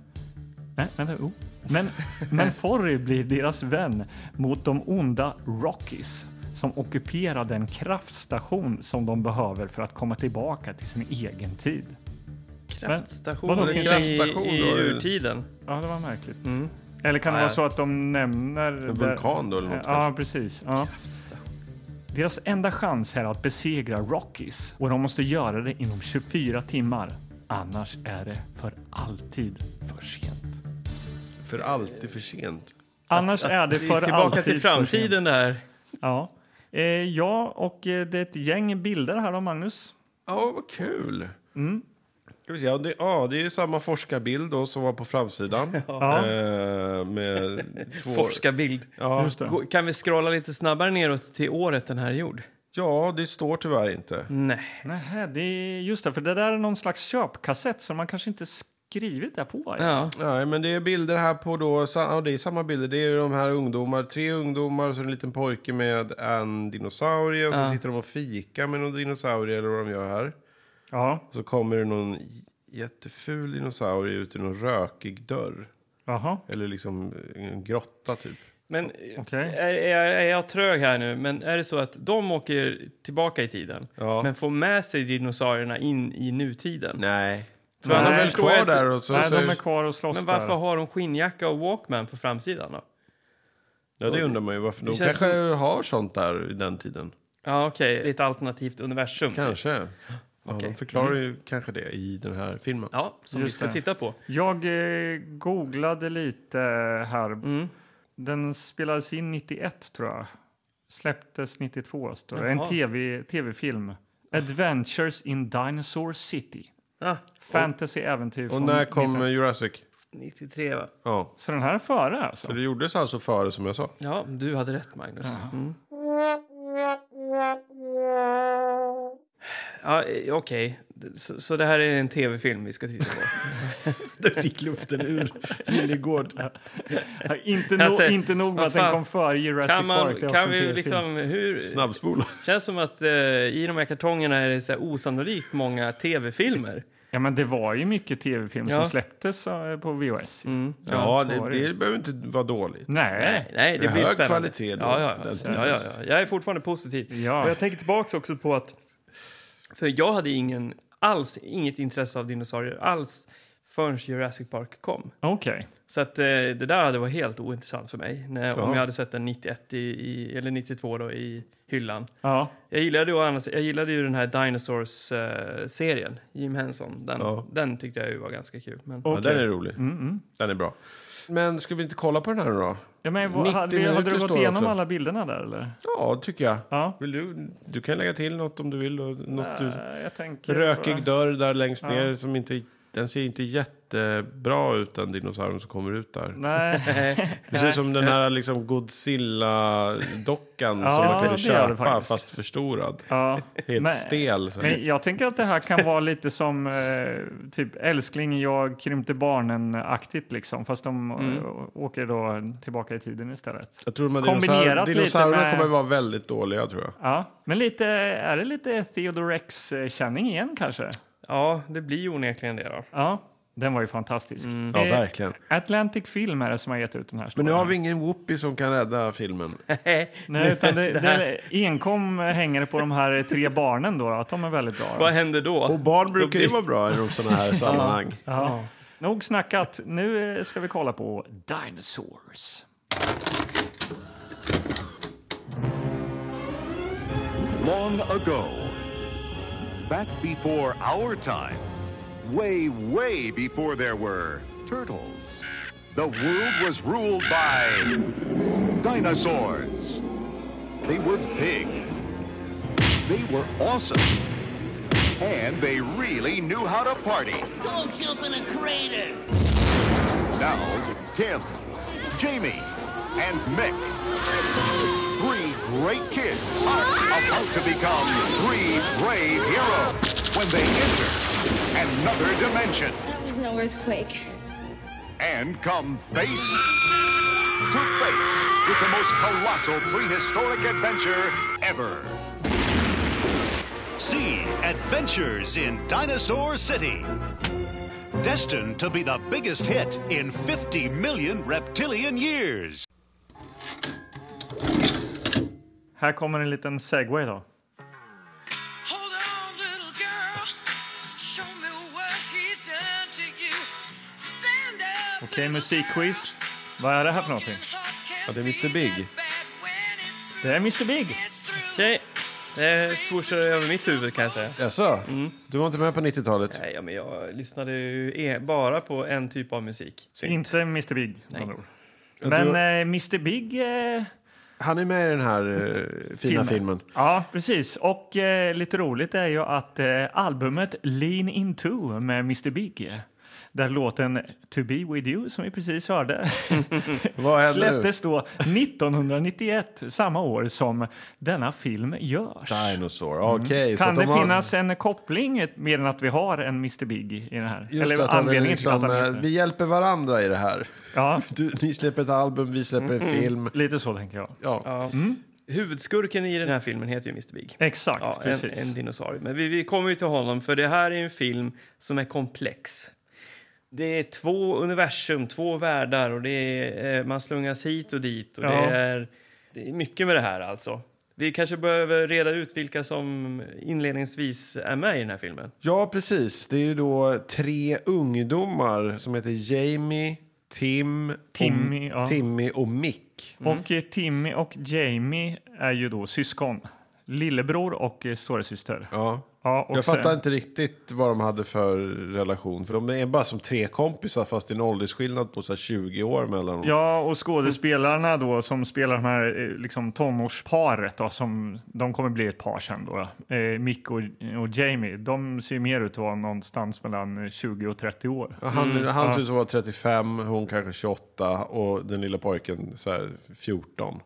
Speaker 2: Nej, vänta, oh. Men, men Forry blir deras vän mot de onda Rockies som ockuperar den kraftstation som de behöver för att komma tillbaka till sin egen tid. vadå,
Speaker 1: Kraftstationen i,
Speaker 2: finns
Speaker 3: det kraftstation
Speaker 1: i
Speaker 3: då?
Speaker 1: urtiden.
Speaker 2: Ja, det var märkligt.
Speaker 1: Mm.
Speaker 2: Eller kan det
Speaker 1: Ja, ja.
Speaker 2: vara så att de nämner...
Speaker 3: En vulkan då eller något
Speaker 2: Ja,
Speaker 3: kanske?
Speaker 2: precis. Ja. Deras enda chans är att besegra Rockies och de måste göra det inom 24 timmar. Annars är det för alltid för sent.
Speaker 3: För alltid för sent.
Speaker 2: Annars
Speaker 1: Att-
Speaker 2: är det
Speaker 1: vi
Speaker 2: för
Speaker 1: är Tillbaka
Speaker 2: alltid
Speaker 1: till
Speaker 2: För sent.
Speaker 1: framtiden där.
Speaker 2: Ja. Eh, ja, och eh, det är ett gäng bilder här då, Magnus.
Speaker 3: Ja, vad kul.
Speaker 1: Mm.
Speaker 3: Ska vi se. Ja, det, ja, det är ju samma forskarbild då som var på framsidan.
Speaker 2: Ja.
Speaker 3: Eh, med två...
Speaker 1: Forskarbild.
Speaker 3: Ja.
Speaker 2: Just det.
Speaker 1: Gå- Kan vi scrolla lite snabbare neråt till året den här är gjord?
Speaker 3: ja, det står tyvärr inte.
Speaker 1: Nej.
Speaker 2: Nähä, det är just det, för det där är någon slags köpkassett som man kanske inte skrivit det på.
Speaker 1: Ja.
Speaker 3: Nej, men det är bilder här på då, sa- ja, det är samma bilder. Det är ju de här ungdomar, tre ungdomar och så en liten pojke med en dinosaurie. Och så sitter de och fikar med någon dinosaurie eller vad de gör här.
Speaker 2: Ja,
Speaker 3: Så kommer det någon j- jätteful dinosaurie ut ur någon rökig dörr.
Speaker 2: jaha.
Speaker 3: Eller liksom en grotta typ.
Speaker 1: Men
Speaker 2: Okej.
Speaker 1: är, är, jag- är jag trög här nu? Men är det så att de åker tillbaka i tiden
Speaker 3: Ja.
Speaker 1: men får med sig dinosaurierna in i nutiden?
Speaker 3: Nej. För
Speaker 1: Nej,
Speaker 3: han är väl
Speaker 1: förstår jag
Speaker 3: kvar
Speaker 1: inte.
Speaker 3: där och så...
Speaker 2: typ- Nej,
Speaker 3: så
Speaker 2: de är kvar och slåss
Speaker 1: Men varför
Speaker 2: där.
Speaker 1: har de skinnjacka och Walkman på framsidan då?
Speaker 3: Ja, det undrar man ju. Varför. De
Speaker 1: känns
Speaker 3: kanske har sånt där i den tiden.
Speaker 1: Ja, okej. Det är ett alternativt universum. typ.
Speaker 3: Kanske. Ja,
Speaker 1: Okej.
Speaker 3: De förklarar ju kanske det i den här filmen.
Speaker 1: Ja, som vi
Speaker 2: Just
Speaker 1: ska
Speaker 2: det.
Speaker 1: titta på.
Speaker 2: Jag eh, googlade lite här.
Speaker 1: Mm.
Speaker 2: Den spelades in 91 tror jag. Släpptes 92. Står det. En
Speaker 1: Jaha.
Speaker 2: TV, tv-film. Adventures in Dinosaur City.
Speaker 1: Ah,
Speaker 2: Fantasy äventyr.
Speaker 3: Och
Speaker 2: från
Speaker 3: när kom
Speaker 2: 19
Speaker 3: Jurassic?
Speaker 1: 93, va?
Speaker 3: Ja.
Speaker 2: Så den här är före alltså?
Speaker 3: Så det gjordes alltså före, som jag sa.
Speaker 1: Ja, du hade rätt, Magnus. Mm. Ja, eh, Okej, så, så det här är en tv-film vi ska titta på.
Speaker 3: Det gick luften ur Lillegård.
Speaker 2: Ja, inte,
Speaker 1: Jag
Speaker 2: no,
Speaker 1: tänkte-
Speaker 2: inte nog med
Speaker 1: vad
Speaker 2: att den
Speaker 1: fan.
Speaker 2: kom före Jurassic
Speaker 1: kan man,
Speaker 2: Park. det är också
Speaker 1: kan
Speaker 2: en
Speaker 1: vi
Speaker 2: TV-film.
Speaker 1: liksom, hur,
Speaker 3: Snabbspola.
Speaker 1: känns som att eh, i de här kartongerna är det så här osannolikt många tv-filmer.
Speaker 2: Ja men det var ju mycket tv-film
Speaker 1: Ja. Mm.
Speaker 2: som släpptes eh, på VHS.
Speaker 3: Mm. Ja,
Speaker 2: så
Speaker 3: det,
Speaker 2: var det Mm, ju.
Speaker 3: det behöver inte vara dåligt.
Speaker 2: Nej.
Speaker 1: nej, det
Speaker 3: Det är
Speaker 1: blir
Speaker 3: hög
Speaker 1: spännande.
Speaker 3: kvalitet då,
Speaker 1: ja, ja, ja,
Speaker 3: den
Speaker 1: ja, ja, ja. Jag är fortfarande positiv.
Speaker 2: Ja.
Speaker 1: Och jag tänker tillbaka också på att... För jag hade ingen, alls inget intresse av dinosaurier alls förrän Jurassic Park kom.
Speaker 2: Okej.
Speaker 1: Så att, eh, det där hade varit helt ointressant för mig när, om
Speaker 3: Ja.
Speaker 1: jag hade sett den 91 i, i, eller 92 då, i hyllan.
Speaker 2: Ja.
Speaker 1: Jag gillade, ju, annars- jag gillade ju den här Dinosaurs-serien, Jim Henson. Den,
Speaker 3: Ja.
Speaker 1: den tyckte jag ju var ganska kul. Men,
Speaker 3: Ja,
Speaker 2: Okej. Mm,
Speaker 3: den är rolig. Den är bra. Men ska vi inte kolla på den här nu då?
Speaker 2: Ja, men, vad,
Speaker 3: 90
Speaker 2: hade, vi- hade
Speaker 3: minuter
Speaker 2: du gått
Speaker 3: står det
Speaker 2: igenom
Speaker 3: också.
Speaker 2: alla bilderna där eller?
Speaker 3: Ja, tycker jag.
Speaker 2: Ja.
Speaker 3: Vill du, du kan lägga till något om du vill. Och något du,
Speaker 2: Äh, jag tänker
Speaker 3: rökig
Speaker 2: bara-
Speaker 3: dörr där längst ner som inte Den ser inte jättebra ut, den dinosaurien som kommer ut där.
Speaker 2: Nej, Eh.
Speaker 3: Det ser ut som den här liksom Godzilla-dockan
Speaker 2: Ja,
Speaker 3: som man
Speaker 2: det
Speaker 3: kunde
Speaker 2: gör det
Speaker 3: köpa,
Speaker 2: faktiskt.
Speaker 3: fast förstorad.
Speaker 2: ja.
Speaker 3: Helt
Speaker 2: Men-
Speaker 3: stel. Så.
Speaker 2: Men jag tänker att det här kan vara lite som eh, typ älskling, jag krympte barnen-aktigt liksom. Fast de eh,
Speaker 3: Mm.
Speaker 2: åker då tillbaka i tiden istället.
Speaker 3: Jag tror de här
Speaker 2: kombinerat
Speaker 3: dinosaur-
Speaker 2: lite
Speaker 3: dinosaurierna
Speaker 2: med-
Speaker 3: kommer vara väldigt dåliga tror jag.
Speaker 2: Ja, men lite, är det lite Theodore Rex-känning igen kanske?
Speaker 1: Ja, det blir ju onekligen det då.
Speaker 2: Ja, den var ju fantastisk.
Speaker 3: Ja,
Speaker 2: Eh,
Speaker 3: verkligen.
Speaker 2: Atlantic Film är det som har gett ut den här.
Speaker 3: Men nu
Speaker 2: storyn.
Speaker 3: har vi ingen Whoopi som kan rädda filmen.
Speaker 2: Nej, utan det, det enkom hänger på de här tre barnen då, att de är väldigt bra.
Speaker 1: Vad händer då?
Speaker 3: Och barn brukar ju
Speaker 1: blir-
Speaker 3: vara bra i de sådana här sammanhang.
Speaker 2: Ja. Nog snackat, nu eh, ska vi kolla på Dinosaurs.
Speaker 4: Long ago, back before our time, way, way before there were turtles, the world was ruled by dinosaurs. They were big, they were awesome, and they really knew how to party.
Speaker 5: Go jump in a crater!
Speaker 4: Now, Tim, Jamie, and Mick, three great kids, are about to become three brave heroes when they enter another dimension
Speaker 6: That was no earthquake.
Speaker 4: and come face to face with the most colossal prehistoric adventure ever.
Speaker 7: See Adventures in Dinosaur City. Destined to be the biggest hit in 50 million reptilian years.
Speaker 2: Här kommer en liten segway då.
Speaker 8: Hold on, little girl. Show me what he's done to you. Stand up.
Speaker 2: Okej, musikquiz. Vad är det här för någonting?
Speaker 3: Ja, det är Mr. Big.
Speaker 2: Det är Mr Big.
Speaker 1: Okej, det swooshar över mitt huvud kan jag säga.
Speaker 3: Jaså?
Speaker 2: Mm.
Speaker 3: Du var inte med på 90-talet?
Speaker 1: Nej, ja, men jag lyssnade ju e- bara på en typ av musik.
Speaker 2: Inte Mr Big. med andra ord. Men
Speaker 3: Men,
Speaker 2: eh, Mr Big... Eh,
Speaker 3: han är med i den här eh, fina filmen.
Speaker 2: Ja, precis. Och eh, lite roligt är ju att eh, albumet Lean Into med Mr Big eh, där låten To Be With You, som vi precis hörde,
Speaker 3: Vad händer nu?
Speaker 2: släpptes då 1991, samma år som denna film görs.
Speaker 3: Dinosaur. Okej. så
Speaker 2: Mm. Kan
Speaker 3: att
Speaker 2: det
Speaker 3: de har-
Speaker 2: finnas en koppling mer än att vi har en Mr Big i den här?
Speaker 3: Just
Speaker 2: Eller
Speaker 3: att han är
Speaker 2: anledningen
Speaker 3: liksom,
Speaker 2: till att han heter
Speaker 3: eh,
Speaker 2: det?
Speaker 3: Vi hjälper varandra i det här.
Speaker 2: Ja,
Speaker 3: Du, ni släpper ett album, vi släpper en film.
Speaker 2: lite så tänker jag.
Speaker 3: Ja.
Speaker 1: Huvudskurken i den här filmen heter ju Mr. Big.
Speaker 2: Exakt,
Speaker 1: Ja, en,
Speaker 2: precis.
Speaker 1: en dinosaurie. Men vi, vi kommer ju till honom, för det här är en film som är komplex. Det är två universum, två världar och det är, eh, man slungas hit och dit. Och
Speaker 2: Ja.
Speaker 1: det, är, det är mycket med det här alltså. Vi kanske behöver reda ut vilka som inledningsvis är med i den här filmen.
Speaker 3: ja, precis. Det är ju då tre ungdomar som heter Jamie, Tim,
Speaker 2: Timmy,
Speaker 3: och,
Speaker 2: ja.
Speaker 3: Timmy och Mick.
Speaker 2: Och eh, Timmy och Jamie är ju då syskon. Lillebror och eh, storasyster.
Speaker 3: Ja.
Speaker 2: Ja, och
Speaker 3: Jag
Speaker 2: sen-
Speaker 3: fattar inte riktigt vad de hade för relation. För de är bara som tre kompisar fast det är en åldersskillnad på så här 20 år mellan dem.
Speaker 2: Ja, och skådespelarna då som spelar de här eh, liksom, tonårsparet då, som de kommer bli ett par sen då. Eh, Mick och, och Jamie, de ser ju mer ut att vara någonstans mellan eh, 20 och 30 år.
Speaker 3: Han, han ser ut som att vara 35, hon kanske 28 och den lilla pojken så här 14.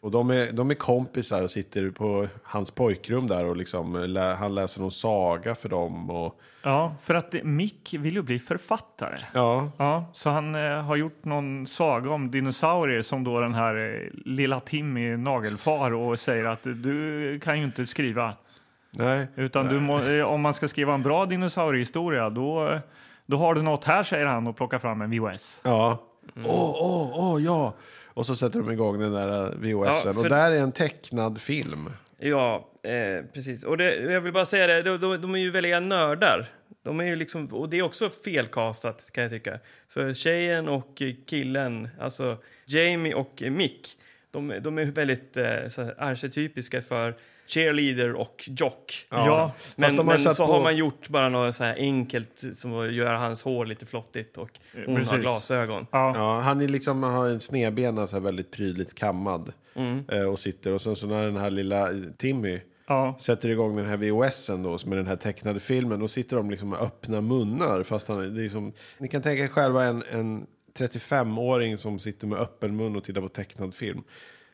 Speaker 3: Och de är, de är kompisar och sitter på hans pojkrum där och liksom, lä, han läser någon saga för dem. Och,
Speaker 2: Ja, för att eh, Mick vill ju bli författare.
Speaker 3: ja,
Speaker 2: Ja, så han eh, har gjort någon saga om dinosaurier som då den här eh, lilla Timmy nagelfar och säger att du kan ju inte skriva.
Speaker 3: nej.
Speaker 2: Utan du må, eh, om man ska skriva en bra dinosauriehistoria då, då har du något här säger han och plockar fram en VHS.
Speaker 3: Ja. Åh, åh, åh, ja. Och så sätter de igång den där eh, VHSen.
Speaker 1: Ja, för-
Speaker 3: Och där är en tecknad film.
Speaker 1: Ja, eh, precis. Och det, jag vill bara säga det, de, de, de är ju väldiga nördar. De är ju liksom, och det är också felkastat kan jag tycka. För tjejen och eh, killen, alltså Jamie och eh, Mick, de, de är väldigt eh, så här, arketypiska för cheerleader och jock.
Speaker 2: Ja,
Speaker 1: Men,
Speaker 3: Fast de har
Speaker 1: men så
Speaker 3: satt på-
Speaker 1: har man gjort bara något så här enkelt som att göra hans hår lite flottigt och hon har
Speaker 2: precis.
Speaker 1: glasögon.
Speaker 2: ja.
Speaker 3: Ja, han är liksom, han har en alltså
Speaker 1: Mm.
Speaker 3: snedbena så här väldigt prydligt kammad. Eh, och sitter. Och sen så när den här lilla Timmy
Speaker 2: Ja.
Speaker 3: sätter igång den här VHSen då, som är den här tecknade filmen, då sitter de liksom med öppna munnar. Fast han, det är som, ni kan tänka er själva en, en 35-åring som sitter med öppen mun och tittar på tecknad film.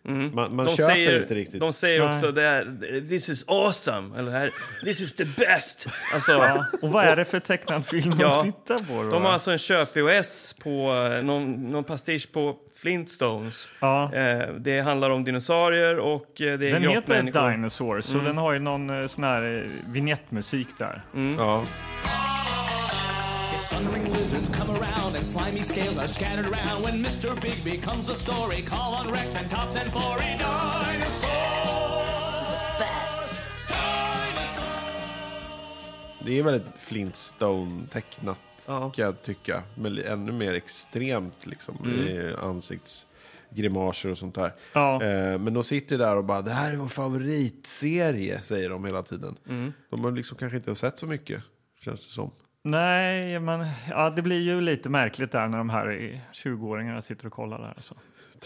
Speaker 3: Man, man
Speaker 1: Mm. De
Speaker 3: köper
Speaker 1: säger,
Speaker 3: inte riktigt.
Speaker 1: de säger också det här, this is awesome, eller det här, this is the best. Alltså,
Speaker 2: Och vad är det för tecknad film man
Speaker 1: Ja.
Speaker 2: tittar på? Då?
Speaker 1: De har alltså en köp-VHS på eh, någon, någon pastisch på Flintstones.
Speaker 2: Ja.
Speaker 1: Eh, det handlar om dinosaurier och eh, det är
Speaker 2: Den heter
Speaker 1: grottmänniskor.
Speaker 2: Dinosaur,
Speaker 1: Mm.
Speaker 2: så den har ju någon eh, sån här eh, vignettmusik där.
Speaker 3: ja.
Speaker 6: Thundering lizards come around and slimy scales are scattered around. When Mr. Big becomes a story, call on Rex and Tops and for a dinosaur.
Speaker 3: Det är väldigt Flintstone-tecknat kan jag tycka. Men ännu mer extremt liksom
Speaker 1: Mm.
Speaker 3: i ansiktsgrimaser och sånt där.
Speaker 2: Ja.
Speaker 3: Eh, men de sitter ju där och bara, det här är vår favoritserie, säger de hela tiden.
Speaker 1: Mm.
Speaker 3: De har liksom kanske inte sett så mycket, känns det som.
Speaker 2: Nej, men ja, det blir ju lite märkligt där när de här eh, 20-åringarna sitter och kollar där. Så.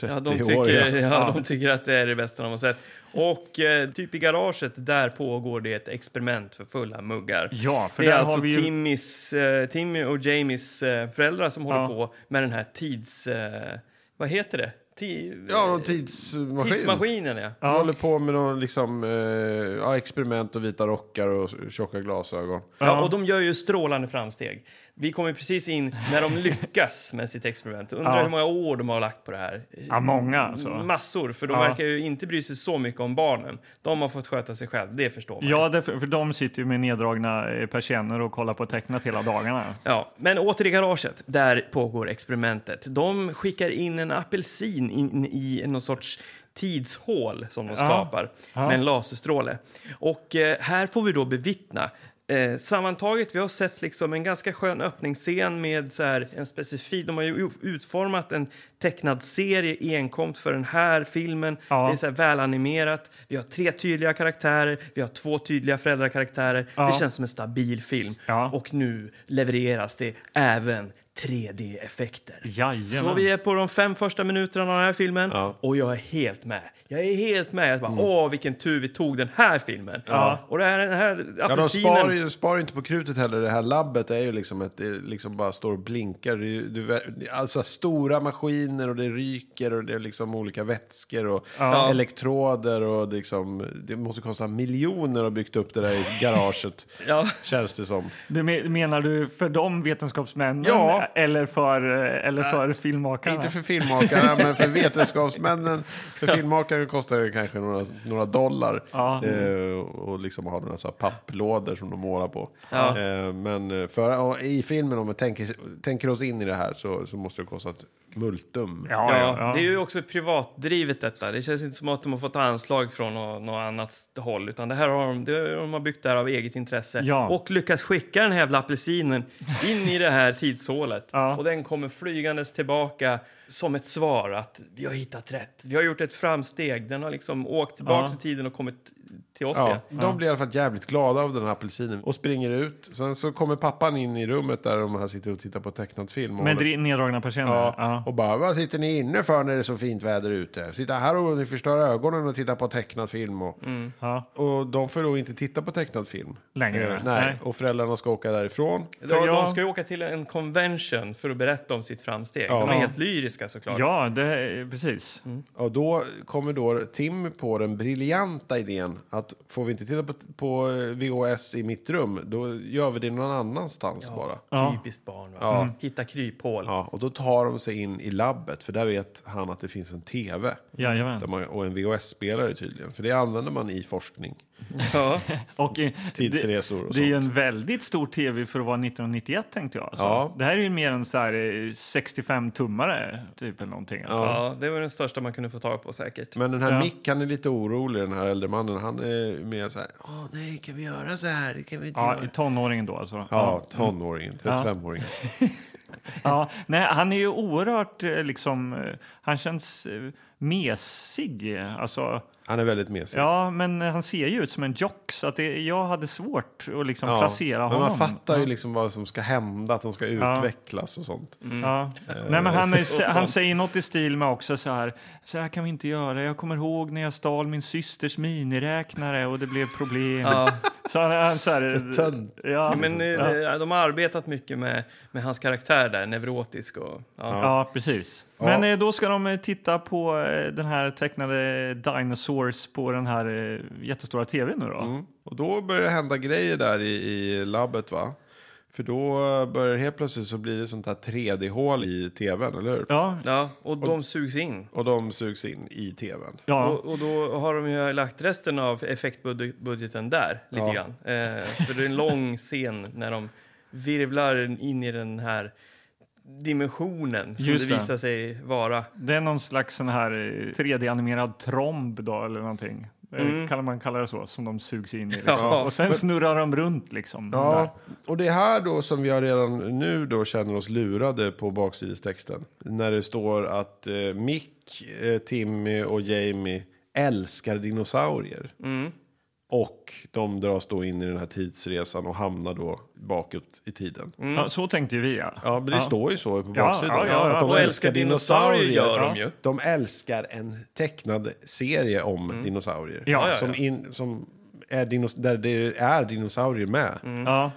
Speaker 1: Ja,
Speaker 3: 30
Speaker 1: de
Speaker 3: år,
Speaker 1: tycker,
Speaker 3: ja.
Speaker 1: ja. de tycker att det är det bästa de har sett. Och eh, typ i garaget, där pågår det ett experiment för fulla muggar.
Speaker 2: Ja, för
Speaker 1: det är
Speaker 2: där
Speaker 1: alltså
Speaker 2: har vi ju...
Speaker 1: Timmys, eh, Timmy och Jamies eh, föräldrar som håller
Speaker 2: Ja.
Speaker 1: på med den här tids... Eh, vad heter det? Ti- eh,
Speaker 3: Ja, någon tidsmaskin.
Speaker 1: tidsmaskinen, ja.
Speaker 3: De håller på med någon, liksom, eh, ja, experiment och vita rockar och tjocka glasögon.
Speaker 1: Ja, och de gör ju strålande framsteg. Vi kommer precis in när de lyckas med sitt experiment. Undrar
Speaker 2: Ja.
Speaker 1: hur många år de har lagt på det här.
Speaker 2: Ja, många alltså.
Speaker 1: Massor, för de
Speaker 2: Ja.
Speaker 1: verkar ju inte bry sig så mycket om barnen. De har fått sköta sig själv, det förstår man.
Speaker 2: Ja, därför, för de sitter ju med neddragna eh, persienner och kollar på tecknat hela dagarna.
Speaker 1: Ja, men åter i garaget, där pågår experimentet. De skickar in en apelsin in i någon sorts tidshål som de skapar med en laserstråle. Och eh, här får vi då bevittna Eh, sammantaget, vi har sett liksom en ganska skön öppningsscen med så här en specifik... De har ju utformat en tecknad serie enkomt för den här filmen.
Speaker 2: Ja.
Speaker 1: Det är så här välanimerat. Vi har tre tydliga karaktärer, vi har två tydliga föräldrakaraktärer.
Speaker 2: Ja.
Speaker 1: Det känns som en stabil film.
Speaker 2: Ja.
Speaker 1: Och nu levereras det även 3D-effekter.
Speaker 2: Jajamän.
Speaker 1: Så vi är på de fem första minuterna av den här filmen och jag är helt med. Jag är helt med. Jag bara,
Speaker 3: Mm.
Speaker 1: Åh, vilken tur vi tog den här filmen. Och det här, den här
Speaker 3: Ja, de sparar,
Speaker 1: apelsinen...
Speaker 3: ju, sparar inte på krutet heller. Det här labbet är ju liksom ett, det liksom bara står och blinkar. Det är, ju- det är, alltså stora maskiner och det ryker och det är liksom olika vätskor och elektroder och det liksom, det måste kosta miljoner att ha byggt upp det där i garaget.
Speaker 1: Ja.
Speaker 3: Känns det som.
Speaker 2: Du me- menar du för de vetenskapsmännen
Speaker 3: Ja.
Speaker 2: eller för, eh,
Speaker 1: Äh,
Speaker 2: eller för filmmakarna?
Speaker 3: Inte för filmmakarna, men för vetenskapsmännen. För filmmakare kostar det kanske några, några dollar.
Speaker 2: Ja.
Speaker 3: Eh, och liksom ha några så här papplådor som de målar på.
Speaker 1: Ja.
Speaker 3: Eh, men för, och i filmen, om vi tänker, tänker oss in i det här, så, så måste det kosta ett multum.
Speaker 2: Ja,
Speaker 1: Ja,
Speaker 2: ja, ja.
Speaker 1: Det är ju också privatdrivet detta. Det känns inte som att de har fått anslag från nå- något annat håll. Utan det här har de, det, de har byggt det här av eget intresse.
Speaker 2: Ja.
Speaker 1: Och lyckas skicka den här jävla apelsinen in i det här tidshålet.
Speaker 2: Ja.
Speaker 1: Och den kommer flygandes tillbaka som ett svar att vi har hittat rätt. Vi har gjort ett framsteg. Den har liksom åkt tillbaka
Speaker 2: Ja.
Speaker 1: i tiden och kommit till oss
Speaker 3: Ja,
Speaker 1: igen.
Speaker 3: de blir i alla fall jävligt glada av den här apelsinen och springer ut. Sen så kommer pappan in i rummet där de här sitter och tittar på tecknad film. och
Speaker 2: Med
Speaker 3: håller-
Speaker 2: dri- neddragna persienner?
Speaker 3: Ja,
Speaker 2: Ja.
Speaker 3: och bara, vad sitter ni inne för när det är så fint väder ute? Sitta här och ni förstör ögonen och titta på tecknad film. Och,
Speaker 2: Ja.
Speaker 3: och de får då inte titta på tecknad film.
Speaker 2: Längre,
Speaker 3: Eh, nej.
Speaker 2: nej.
Speaker 3: och föräldrarna ska åka därifrån.
Speaker 1: Ja,
Speaker 2: jag-
Speaker 1: De ska ju åka till en convention för att berätta om sitt framsteg. De är helt lyriska såklart.
Speaker 2: Ja, det, precis.
Speaker 3: Och då kommer då Tim på den briljanta idén att får vi inte titta på, på eh, VHS i mitt rum, då gör vi det någon annanstans bara.
Speaker 1: Typiskt barn. Va? Hitta kryphål.
Speaker 3: Ja, och då tar de sig in i labbet, för där vet han att det finns en tv.
Speaker 2: Jajamän.
Speaker 3: Där man, och en VHS-spelare tydligen, för det använder man i forskning.
Speaker 1: Ja.
Speaker 2: Och, eh,
Speaker 3: Tidsresor och
Speaker 2: Det, det är ju
Speaker 3: sånt.
Speaker 2: en väldigt stor tv för att vara 1991 tänkte jag. Alltså.
Speaker 3: Ja.
Speaker 2: Det här är ju mer en så här eh, 65-tummare typ eller någonting. Alltså.
Speaker 1: Ja, det var den största man kunde få tag på säkert.
Speaker 3: Men den här
Speaker 2: Ja.
Speaker 3: Mick, han är lite orolig, den här äldre mannen. Han är mer så här, åh nej, kan vi göra så här? Kan vi inte
Speaker 2: Ja,
Speaker 3: göra?
Speaker 2: i tonåringen då alltså.
Speaker 3: Ja, tonåringen, 35-åringen.
Speaker 2: Ja, nej, han är ju oerhört eh, liksom, eh, han känns eh, mesig. eh, Alltså,
Speaker 3: Han är väldigt mesig.
Speaker 2: Ja, men han ser ju ut som en jock, så att det, jag hade svårt att liksom
Speaker 3: Ja,
Speaker 2: placera
Speaker 3: men
Speaker 2: honom.
Speaker 3: man fattar ju liksom vad som ska hända, att de ska utvecklas och sånt.
Speaker 2: Mm. Ja. Nej, men han, är, han säger något i stil med också så här, så här kan vi inte göra. Jag kommer ihåg när jag stal min systers miniräknare och det blev problem. Så han, han så här,
Speaker 3: Så tönt.
Speaker 2: ja,
Speaker 1: Ja, men eh,
Speaker 2: ja.
Speaker 1: det- de har arbetat mycket med, med hans karaktär där, neurotisk och... Ja.
Speaker 2: Ja, precis. Men eh, då ska de eh, titta på eh, den här tecknade Dinosaurs på den här eh, jättestora tvn nu då.
Speaker 1: Mm.
Speaker 3: Och då börjar det hända grejer där i, i labbet va? För då börjar helt plötsligt så blir det sånt här 3D-hål i tvn, eller hur?
Speaker 2: Ja,
Speaker 1: Ja, och de sugs in.
Speaker 3: Och de sugs in i tvn.
Speaker 2: ja.
Speaker 1: Och, och då har de ju lagt resten av effektbudgeten där, lite
Speaker 3: Ja.
Speaker 1: grann. Eh, för det är en lång scen när de virvlar in i den här dimensionen som
Speaker 2: Just
Speaker 1: det
Speaker 2: det.
Speaker 1: visar sig vara.
Speaker 2: det är någon slags sån här eh, 3D-animerad tromb då eller någonting. Mm. Kan man kalla det så, som de sugs in i. Liksom.
Speaker 1: Ja.
Speaker 2: Och sen snurrar de runt liksom. Där.
Speaker 3: Ja, och det är här då som vi har redan nu då känner oss lurade på baksidestexten. När det står att eh, Mick, eh, Timmy och Jamie älskar dinosaurier. Och de dras då in i den här tidsresan och hamnar då bakåt i tiden.
Speaker 2: Ja, så tänkte ju vi Mm. ja.
Speaker 3: Mm. Ja, men det står ju så på
Speaker 2: Ja,
Speaker 3: baksidan.
Speaker 2: ja, ja, ja.
Speaker 3: Att de
Speaker 2: Och
Speaker 3: älskar,
Speaker 1: älskar
Speaker 3: dinosaurier.
Speaker 1: dinosaurier gör de
Speaker 3: Ja.
Speaker 1: ju.
Speaker 3: De älskar en tecknad serie om dinosaurier.
Speaker 2: Ja, ja,
Speaker 1: ja.
Speaker 3: Som, in, som är dinos, där det är dinosaurier med.
Speaker 2: Ja,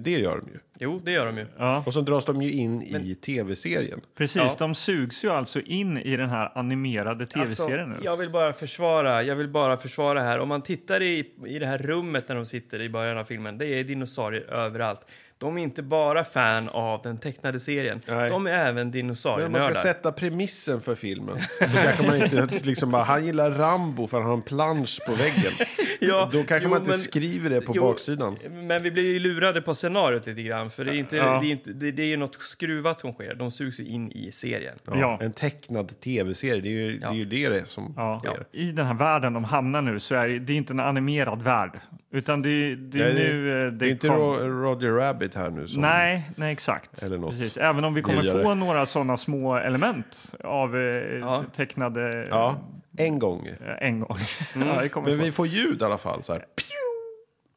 Speaker 3: Det gör de ju.
Speaker 1: Jo, det gör de ju.
Speaker 2: ja.
Speaker 3: Och så dras de ju in i tv-serien.
Speaker 2: Precis,
Speaker 1: Ja.
Speaker 2: de sugs ju alltså in i den här animerade
Speaker 3: Alltså,
Speaker 2: tv-serien nu.
Speaker 1: Alltså, jag vill bara försvara, jag vill bara försvara här. Om man tittar i, i det här rummet när de sitter i början av filmen, det är dinosaurier överallt. De är inte bara fan av den tecknade serien,
Speaker 3: Nej.
Speaker 1: de är även
Speaker 3: Men om man ska
Speaker 1: dinosaurienördar.
Speaker 3: sätta premissen för filmen så kanske man inte liksom bara, han gillar Rambo för han har en plansch på väggen.
Speaker 1: Ja,
Speaker 3: Då kanske
Speaker 1: jo,
Speaker 3: man inte
Speaker 1: men-
Speaker 3: skriver det på
Speaker 1: jo,
Speaker 3: baksidan.
Speaker 1: Men vi blir ju lurade på scenariot lite grann, för det är ju inte,
Speaker 2: Ja.
Speaker 1: det är inte, det, det är ju något skruvat som sker. De sugs ju in i serien.
Speaker 2: Ja.
Speaker 3: En tecknad tv-serie, det är ju det, är ju det, det som
Speaker 2: Ja.
Speaker 3: sker.
Speaker 2: I den här världen de hamnar nu så är det, det är inte en animerad värld. Utan det, är- det är
Speaker 3: Nej, det-
Speaker 2: nu eh, det,
Speaker 3: Det är inte
Speaker 2: kom-
Speaker 3: Ro- Roger Rabbit här nu som...
Speaker 2: Nej, nej exakt.
Speaker 3: Eller något
Speaker 2: Precis. Även om vi kommer
Speaker 3: nyare.
Speaker 2: få några sådana små element av eh, tecknade
Speaker 3: Ja, en gång.
Speaker 2: eh, en gång. ja, det kommer
Speaker 3: Men
Speaker 2: få.
Speaker 3: vi får ljud i alla fall så här. Pew!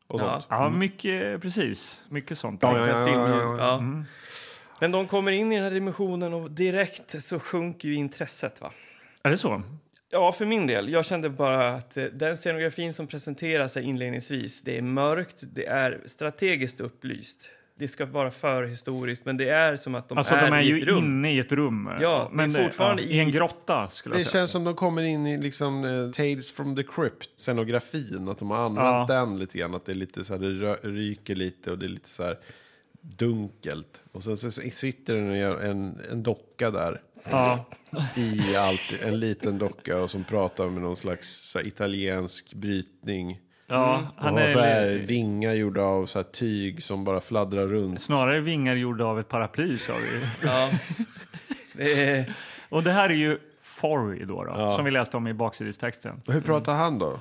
Speaker 3: Och sånt.
Speaker 2: Ja, mycket, precis. Mycket sånt.
Speaker 3: Ja, ja, ja, ja, ja.
Speaker 1: Ja.
Speaker 2: Mm.
Speaker 1: Men de kommer in i den här dimensionen och direkt så sjunker ju intresset. va?
Speaker 2: Är det så?
Speaker 1: Ja, för min del. Jag kände bara att eh, den scenografin som presenteras här inledningsvis, det är mörkt, det är strategiskt upplyst. Det ska vara förhistoriskt, men det är som att de
Speaker 2: Alltså,
Speaker 1: är,
Speaker 2: de är
Speaker 1: i
Speaker 2: ju
Speaker 1: ett rum.
Speaker 2: inne i ett rum.
Speaker 1: Ja, det är
Speaker 2: det-
Speaker 1: fortfarande
Speaker 2: ja,
Speaker 1: i-
Speaker 2: i en grotta skulle
Speaker 3: Det
Speaker 2: jag säga.
Speaker 3: känns som de kommer in i liksom eh, Tales from the Crypt, scenografin. Att de har använt den lite grann. Att det är lite så här, det rö- ryker lite och det är lite så här dunkelt. Och sen så sitter det en, en, en docka där.
Speaker 2: Ja.
Speaker 3: I allt, en liten docka och som pratar med någon slags så här, italiensk brytning.
Speaker 2: Ja,
Speaker 1: Mm.
Speaker 2: han
Speaker 3: och har
Speaker 2: är
Speaker 3: så här
Speaker 2: li-
Speaker 3: vingar gjorda av så här tyg som bara fladdrar runt.
Speaker 2: snarare vingar gjorda av ett paraply sa vi.
Speaker 1: Ja. Det är,
Speaker 2: Och det här är ju Forry då, då som vi läste om i baksidestexten.
Speaker 3: Hur pratar han då?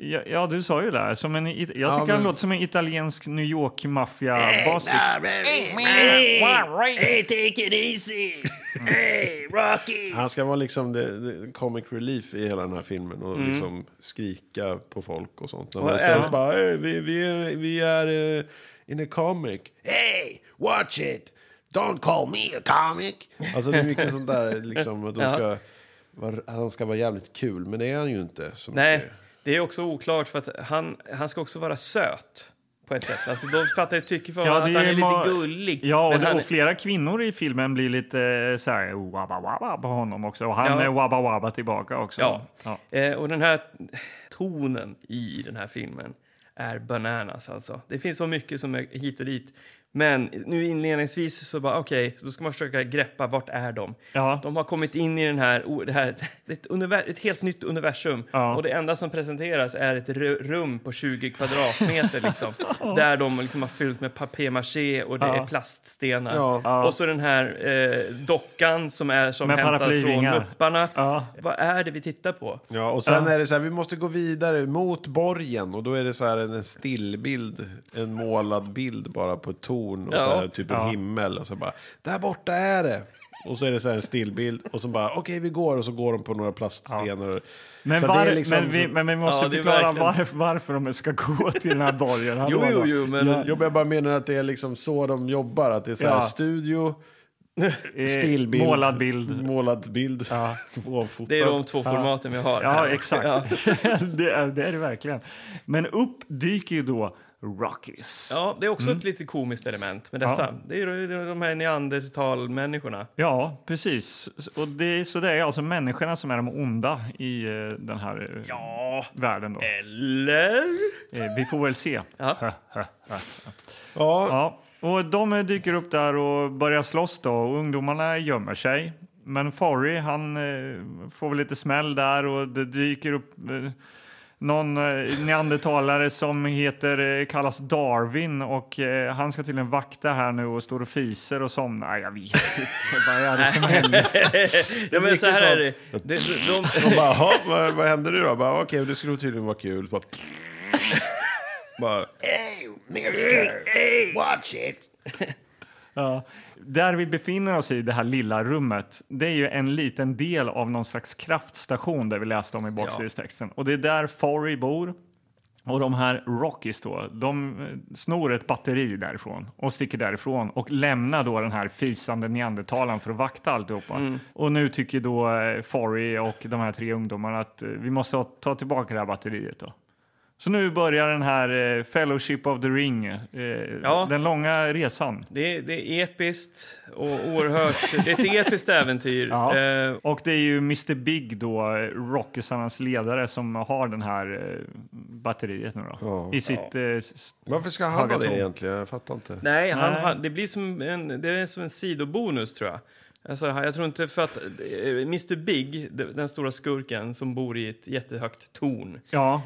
Speaker 2: Ja, ja, du sa ju det. Här. Som en, it- jag tycker han
Speaker 3: men-
Speaker 2: låter som en italiensk New York-maffia-bas. liksom.
Speaker 3: Han ska vara liksom the, the comic relief i hela den här filmen och liksom skrika på folk och sånt. Och
Speaker 1: Och
Speaker 3: sen
Speaker 1: även-
Speaker 3: bara, "Hey, vi, vi är, vi är eh, in a comic. Hey, watch it! Don't call me a comic! Alltså det är mycket sånt där liksom att de ska, var, han ska vara jävligt kul, men det är han ju inte. Så
Speaker 1: nej,
Speaker 3: mycket.
Speaker 1: det är också oklart för att han, han ska också vara söt på ett sätt. Alltså, de fattar ju tycker för
Speaker 2: Ja,
Speaker 1: att han är
Speaker 2: ma-
Speaker 1: lite gullig.
Speaker 2: Ja, och,
Speaker 1: men han,
Speaker 2: och flera kvinnor i filmen blir lite eh, så här wabba-wabba på honom också. Och han
Speaker 1: Ja.
Speaker 2: är wabba-wabba tillbaka också.
Speaker 1: ja.
Speaker 2: Ja.
Speaker 1: Eh, och den här tonen i den här filmen är bananas alltså. Det finns så mycket som är hit och dit. Men nu inledningsvis så bara okej, så då ska man försöka greppa vart är de?
Speaker 2: Ja.
Speaker 1: De har kommit in i den här, o- det här det är ett, univer- ett helt nytt universum
Speaker 2: Ja.
Speaker 1: och det enda som presenteras är ett ru- rum på 20 kvadratmeter liksom, där de liksom har fyllt med papier-maché och det
Speaker 2: Ja.
Speaker 1: är plaststenar.
Speaker 3: Ja.
Speaker 1: Och så den här eh, dockan som är som
Speaker 2: Med
Speaker 1: hämtad från
Speaker 2: paraplyvingar.
Speaker 1: Mupparna.
Speaker 2: Ja.
Speaker 1: Vad är det vi tittar på?
Speaker 3: Ja, och sen är det så här, vi måste gå vidare mot borgen och då är det så här en en stillbild, en målad bild bara på ett torn och så
Speaker 1: Ja.
Speaker 3: här, typ en himmel och så bara, där borta är det! Och så är det så här en stillbild och så bara okej vi går och så går de på några plaststenar.
Speaker 2: Men,
Speaker 3: så det är
Speaker 2: var,
Speaker 3: liksom-
Speaker 2: men, vi, men vi måste
Speaker 1: Ja, det är
Speaker 2: förklara
Speaker 1: verkligen-
Speaker 2: varför, varför de ska gå till den här borgen.
Speaker 1: Jo,
Speaker 2: Hallå,
Speaker 1: jo,
Speaker 2: då.
Speaker 1: jo, men...
Speaker 3: Jo, men jag bara menar att det är liksom så de jobbar. Att det är så här
Speaker 2: Ja.
Speaker 3: studio,
Speaker 2: Eh,
Speaker 3: stillbild.
Speaker 2: Målad bild.
Speaker 3: Målad bild.
Speaker 2: Ja.
Speaker 3: Tvåfotad.
Speaker 1: Det är de två formaten vi har.
Speaker 2: Ja, exakt. det, är, det är det verkligen. Men upp dyker ju då Rockies.
Speaker 1: Ja, det är också
Speaker 2: Mm.
Speaker 1: ett lite komiskt element med dessa. Det är ju de här neandertalmänniskorna.
Speaker 2: Ja, precis. Och det är, så det är alltså människorna som är de onda i eh, den här eh,
Speaker 1: Ja,
Speaker 2: världen. Då.
Speaker 1: eller?
Speaker 2: Eh, Vi får väl se.
Speaker 1: Ja.
Speaker 3: Ja,
Speaker 2: Ja. Och de eh, dyker upp där och börjar slåss då. Och ungdomarna gömmer sig. Men Forry, han eh, får väl lite smäll där och det dyker upp eh, någon eh, neandertalare som heter, eh, kallas Darwin och eh, han ska tydligen vakta här nu och står och fiser och somnar. Jag vet inte. Vad är det som händer?
Speaker 1: ja, men så här är det.
Speaker 3: sånt.
Speaker 1: De, de, de,
Speaker 3: de bara, "Jaha, vad, vad hände nu då? Bara, Okej, det skulle tydligen vara kul. Bara, bara,
Speaker 2: Ja. Där vi befinner oss i det här lilla rummet, det är ju en liten del av någon slags kraftstation där vi läste om i baksidestexten. Och det är där Forry bor. Och de här Rockies då, de eh, snor ett batteri därifrån och sticker därifrån och lämnar då den här fisande neandertalaren för att vakta alltihopa. Och nu tycker då eh, Forry och de här tre ungdomarna att eh, vi måste ha- ta tillbaka det här batteriet då. Så nu börjar den här eh, Fellowship of the Ring, eh,
Speaker 1: Ja.
Speaker 2: den långa resan.
Speaker 1: det, är- det är episkt och oerhört... Det är ett episkt äventyr.
Speaker 2: Ja.
Speaker 1: Eh,
Speaker 2: Och det är ju Mr Big då, eh, Rockisarnas ledare, som har den här eh, batteriet nu då. I sitt... eh, s-
Speaker 3: varför ska han
Speaker 2: Höga
Speaker 3: ha det
Speaker 2: ton.
Speaker 3: egentligen? Jag fattar inte.
Speaker 1: nej, han,
Speaker 2: Nej.
Speaker 1: Han, det blir som en, det är som en sidobonus, tror jag. Alltså, jag tror inte för att eh, Mr Big, de- den stora skurken som bor i ett jättehögt torn, eh,
Speaker 2: Ja,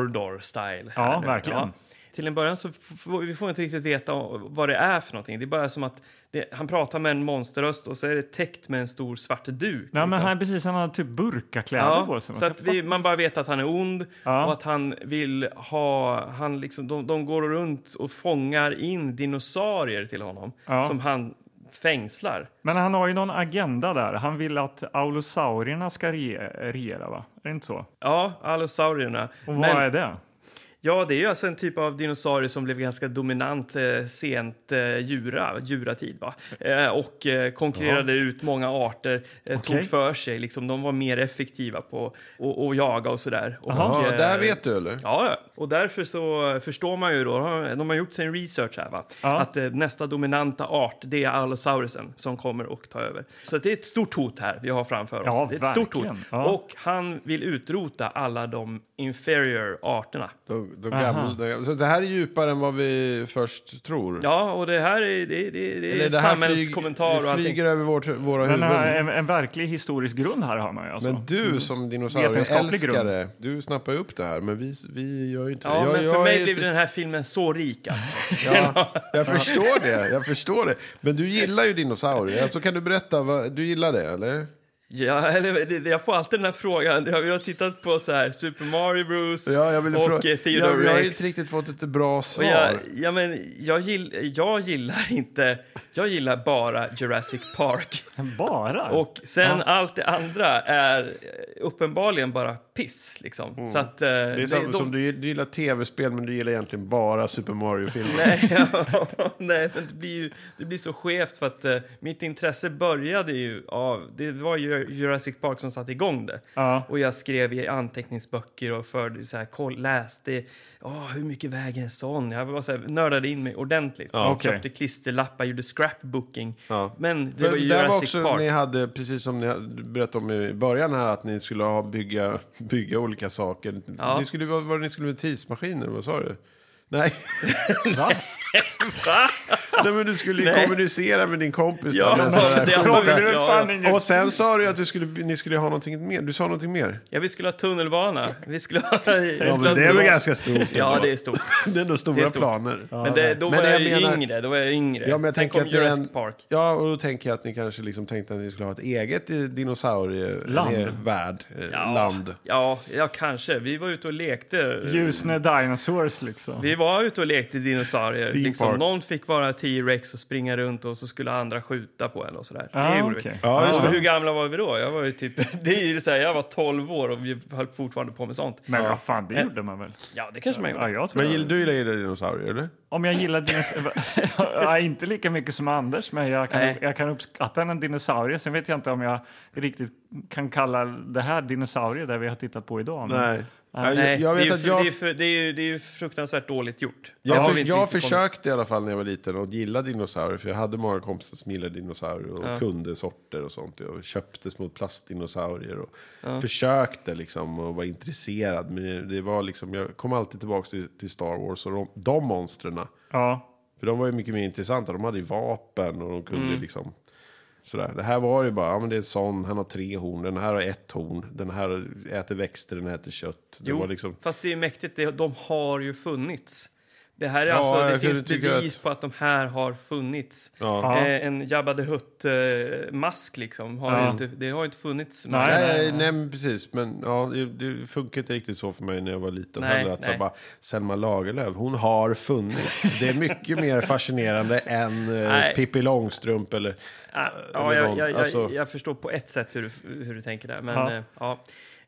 Speaker 1: Mordor-style. här
Speaker 2: Ja,
Speaker 1: nu.
Speaker 2: verkligen.
Speaker 1: Till en början så f- får vi får inte riktigt veta vad det är för någonting. Det är bara som att det, han pratar med en monsterröst och så är det täckt med en stor svart duk.
Speaker 2: Nej, men
Speaker 1: liksom.
Speaker 2: han, precis, han har typ burkakläder
Speaker 1: Ja,
Speaker 2: på sig.
Speaker 1: så att vi, man bara vet att han är ond och att han vill ha... Han liksom, de, de går runt och fångar in dinosaurier till honom
Speaker 2: Ja.
Speaker 1: som han fängslar.
Speaker 2: Men han har ju någon agenda där. Han vill att aulosaurierna ska re- regera, va? Är det inte så?
Speaker 1: Ja, allosaurierna.
Speaker 2: Och
Speaker 1: Men-
Speaker 2: vad är det?
Speaker 1: Ja, det är ju alltså en typ av dinosaurie som blev ganska dominant eh, sent eh, djura, djuratid va? Eh, och eh, konkurrerade ut många arter, eh,
Speaker 2: Okej.
Speaker 1: tog för sig, liksom, de var mer effektiva på att att jaga och sådär. Och,
Speaker 2: Jaha.
Speaker 3: Ja,
Speaker 1: eh,
Speaker 3: där vet du eller?
Speaker 1: Ja, ja. och därför så förstår man ju då, de har gjort sin research här va,
Speaker 2: Ja.
Speaker 1: att eh, nästa dominanta art det är allosaurusen som kommer och tar över. Så att det är ett stort hot här vi har framför oss.
Speaker 2: Ja,
Speaker 1: det är ett stort hot.
Speaker 2: verkligen. Ja.
Speaker 1: Och han vill utrota alla de inferior arterna.
Speaker 3: De, de gamla, de gamla. Så det här är djupare än vad vi först tror.
Speaker 1: Ja, och det här är, det, det, det är
Speaker 3: det här
Speaker 1: samhällskommentar
Speaker 3: flyger,
Speaker 1: och
Speaker 3: det flyger
Speaker 1: allting.
Speaker 3: över vårt, våra
Speaker 2: Den har en,
Speaker 3: huvuden.
Speaker 2: en verklig historisk grund här har man ju. Alltså.
Speaker 3: Men du som
Speaker 2: Vetenskaplig
Speaker 3: dinosaurieälskare, du snappar ju upp det här. Men vi, vi gör ju inte
Speaker 1: Ja,
Speaker 3: det.
Speaker 1: men
Speaker 3: är typ-
Speaker 1: för mig
Speaker 3: ju
Speaker 1: blev
Speaker 3: ty-
Speaker 1: den här filmen så rik alltså.
Speaker 3: Ja, jag förstår det. Jag förstår det. Men du gillar ju dinosaurier. Alltså, kan du berätta, vad, du gillar det eller?
Speaker 1: Ja, eller, det- jag får alltid den här frågan. Jag jag har tittat på så här, Super Mario Bros
Speaker 3: Ja, jag vill
Speaker 1: och
Speaker 3: fråga.
Speaker 1: eh,
Speaker 3: jag,
Speaker 1: Theodore
Speaker 3: jag har
Speaker 1: Rex.
Speaker 3: inte riktigt fått ett bra svar.
Speaker 1: Och jag, ja, men jag, gill, jag gillar inte... Jag gillar bara Jurassic Park.
Speaker 2: Bara?
Speaker 1: Och sen allt det andra är eh, uppenbarligen bara piss. Liksom. Så att, eh,
Speaker 3: Mm. Det är som, som du, du gillar tv-spel, men du gillar egentligen bara Super Mario-filmer.
Speaker 1: Nej, nej men det blir ju det blir så skevt för att eh, mitt intresse började ju av, det var ju Jurassic Park som satte igång det.
Speaker 2: Ja.
Speaker 1: Och jag skrev i anteckningsböcker och förde så här, koll, läste, oh, hur mycket väger en sån? Jag var så här, nördade in mig ordentligt. och
Speaker 2: okej.
Speaker 1: Köpte klisterlappar, gjorde scrapbooking.
Speaker 3: Ja.
Speaker 1: Men det
Speaker 3: För
Speaker 1: var ju
Speaker 3: där var
Speaker 1: Jurassic
Speaker 3: också,
Speaker 1: Park.
Speaker 3: ni hade, precis som ni hade- berättade om i början här, att ni skulle ha bygga, bygga olika saker.
Speaker 1: Ja.
Speaker 3: Ni skulle, vad var det ni skulle med tidsmaskiner? Vad sa du? Nej.
Speaker 2: Va?
Speaker 3: Nej, men du skulle ju kommunicera med din kompis.
Speaker 1: Ja,
Speaker 3: där,
Speaker 1: men
Speaker 3: så
Speaker 1: det
Speaker 3: här, skjuta.
Speaker 1: var
Speaker 2: Det är
Speaker 1: väl-
Speaker 2: väl
Speaker 1: Ja,
Speaker 2: fan
Speaker 1: ja.
Speaker 2: inget-
Speaker 3: Och sen sa du att du skulle, ni skulle ha någonting mer. Du sa någonting mer.
Speaker 1: Ja, vi skulle ha tunnelbana. Vi skulle ha... vi skulle ha
Speaker 3: det är väl
Speaker 1: tunnel-
Speaker 3: ganska stort.
Speaker 1: Ja, det är stort.
Speaker 3: det är ändå stora
Speaker 1: det är stort.
Speaker 3: planer.
Speaker 1: Men det, då,
Speaker 3: Men
Speaker 1: var jag
Speaker 3: jag
Speaker 1: ju
Speaker 3: menar-
Speaker 1: yngre, då var jag yngre.
Speaker 3: Ja, men jag
Speaker 1: Sen
Speaker 3: tänker
Speaker 1: kom
Speaker 3: att det är
Speaker 1: Jurassic
Speaker 3: en,
Speaker 1: Park.
Speaker 3: Ja, och då tänker jag att ni kanske liksom tänkte att ni skulle ha ett eget eh,
Speaker 2: Land.
Speaker 3: dinosaurievärld. Ja. Land.
Speaker 1: Ja, ja, kanske. Vi var ute och lekte.
Speaker 2: Ljusne Dinosaurs liksom.
Speaker 1: Vi var ute och lekte dinosaurier.
Speaker 3: Theme
Speaker 1: liksom,
Speaker 3: park.
Speaker 1: någon fick vara T-Rex och springa runt och så skulle andra skjuta på en och sådär.
Speaker 2: Ah,
Speaker 1: det gjorde
Speaker 2: okej.
Speaker 1: vi.
Speaker 3: Ja, just
Speaker 1: Men
Speaker 3: det.
Speaker 1: hur gamla var vi då? Jag var ju typ, det är ju så här, jag var 12 år och vi höll fortfarande på med sånt.
Speaker 2: Men vad fan,
Speaker 1: Eh.
Speaker 2: det gjorde man väl?
Speaker 1: Ja, det kanske man
Speaker 2: Ja,
Speaker 1: gjorde.
Speaker 2: jag tror
Speaker 3: Men
Speaker 2: jag-
Speaker 3: gillar- du gillar ju dinosaurier,
Speaker 1: Mm.
Speaker 3: eller?
Speaker 2: Om jag gillar dinosaurier... ja, inte lika mycket som Anders, men jag kan,
Speaker 1: Nej.
Speaker 2: jag kan uppskatta en dinosaurie. Sen vet jag inte om jag riktigt kan kalla det här dinosaurier, där vi har tittat på idag. Men
Speaker 3: Nej,
Speaker 1: Nej,
Speaker 3: jag, jag
Speaker 1: det är
Speaker 3: vet
Speaker 1: ju
Speaker 3: att
Speaker 1: för-
Speaker 3: jag...
Speaker 1: det är för- det är ju- Det är ju fruktansvärt dåligt gjort. Det
Speaker 3: Jag,
Speaker 1: har
Speaker 3: för,
Speaker 1: vi inte
Speaker 3: jag
Speaker 1: riktigt kommit-
Speaker 3: försökte i alla fall när jag var liten att gilla dinosaurier. För jag hade många kompisar som gillade dinosaurier och kunde sorter och sånt. Jag köpte små plastdinosaurier och försökte liksom och var intresserad. Men det var liksom, jag kom alltid tillbaka till, till Star Wars och de, de monstren.
Speaker 2: ja,
Speaker 3: För de var ju mycket mer intressanta. De hade ju vapen och de kunde
Speaker 1: Mm.
Speaker 3: liksom... Sådär. Det här var ju bara, ja men det är en sån, han har tre horn, den här har ett horn, den här äter växter, den äter kött. Det
Speaker 1: Jo,
Speaker 3: var liksom...
Speaker 1: fast det är ju mäktigt. Det, de har ju funnits. Det här är
Speaker 3: Ja,
Speaker 1: alltså, det
Speaker 3: jag
Speaker 1: finns
Speaker 3: kunde tycka
Speaker 1: bevis
Speaker 3: att-
Speaker 1: på att de här har funnits.
Speaker 3: Ja.
Speaker 1: Eh, en Jabba the Hutt-mask liksom, har ju inte, det har ju inte funnits.
Speaker 2: Nej,
Speaker 1: någon-
Speaker 2: nej.
Speaker 3: Nej, nej, men precis. Men ja, det, det funkar inte riktigt så för mig när jag var liten
Speaker 1: Nej,
Speaker 3: heller. Att så
Speaker 1: nej.
Speaker 3: bara, Selma Lagerlöf, hon har funnits. Det är mycket mer fascinerande än eh,
Speaker 1: Nej.
Speaker 3: Pippi Långstrump eller...
Speaker 1: Ah,
Speaker 3: eller
Speaker 1: Ja, jag,
Speaker 3: någon.
Speaker 1: jag,
Speaker 3: Alltså-
Speaker 1: jag, jag förstår på ett sätt hur, du- hur du tänker där. Men,
Speaker 2: Ja.
Speaker 1: ja.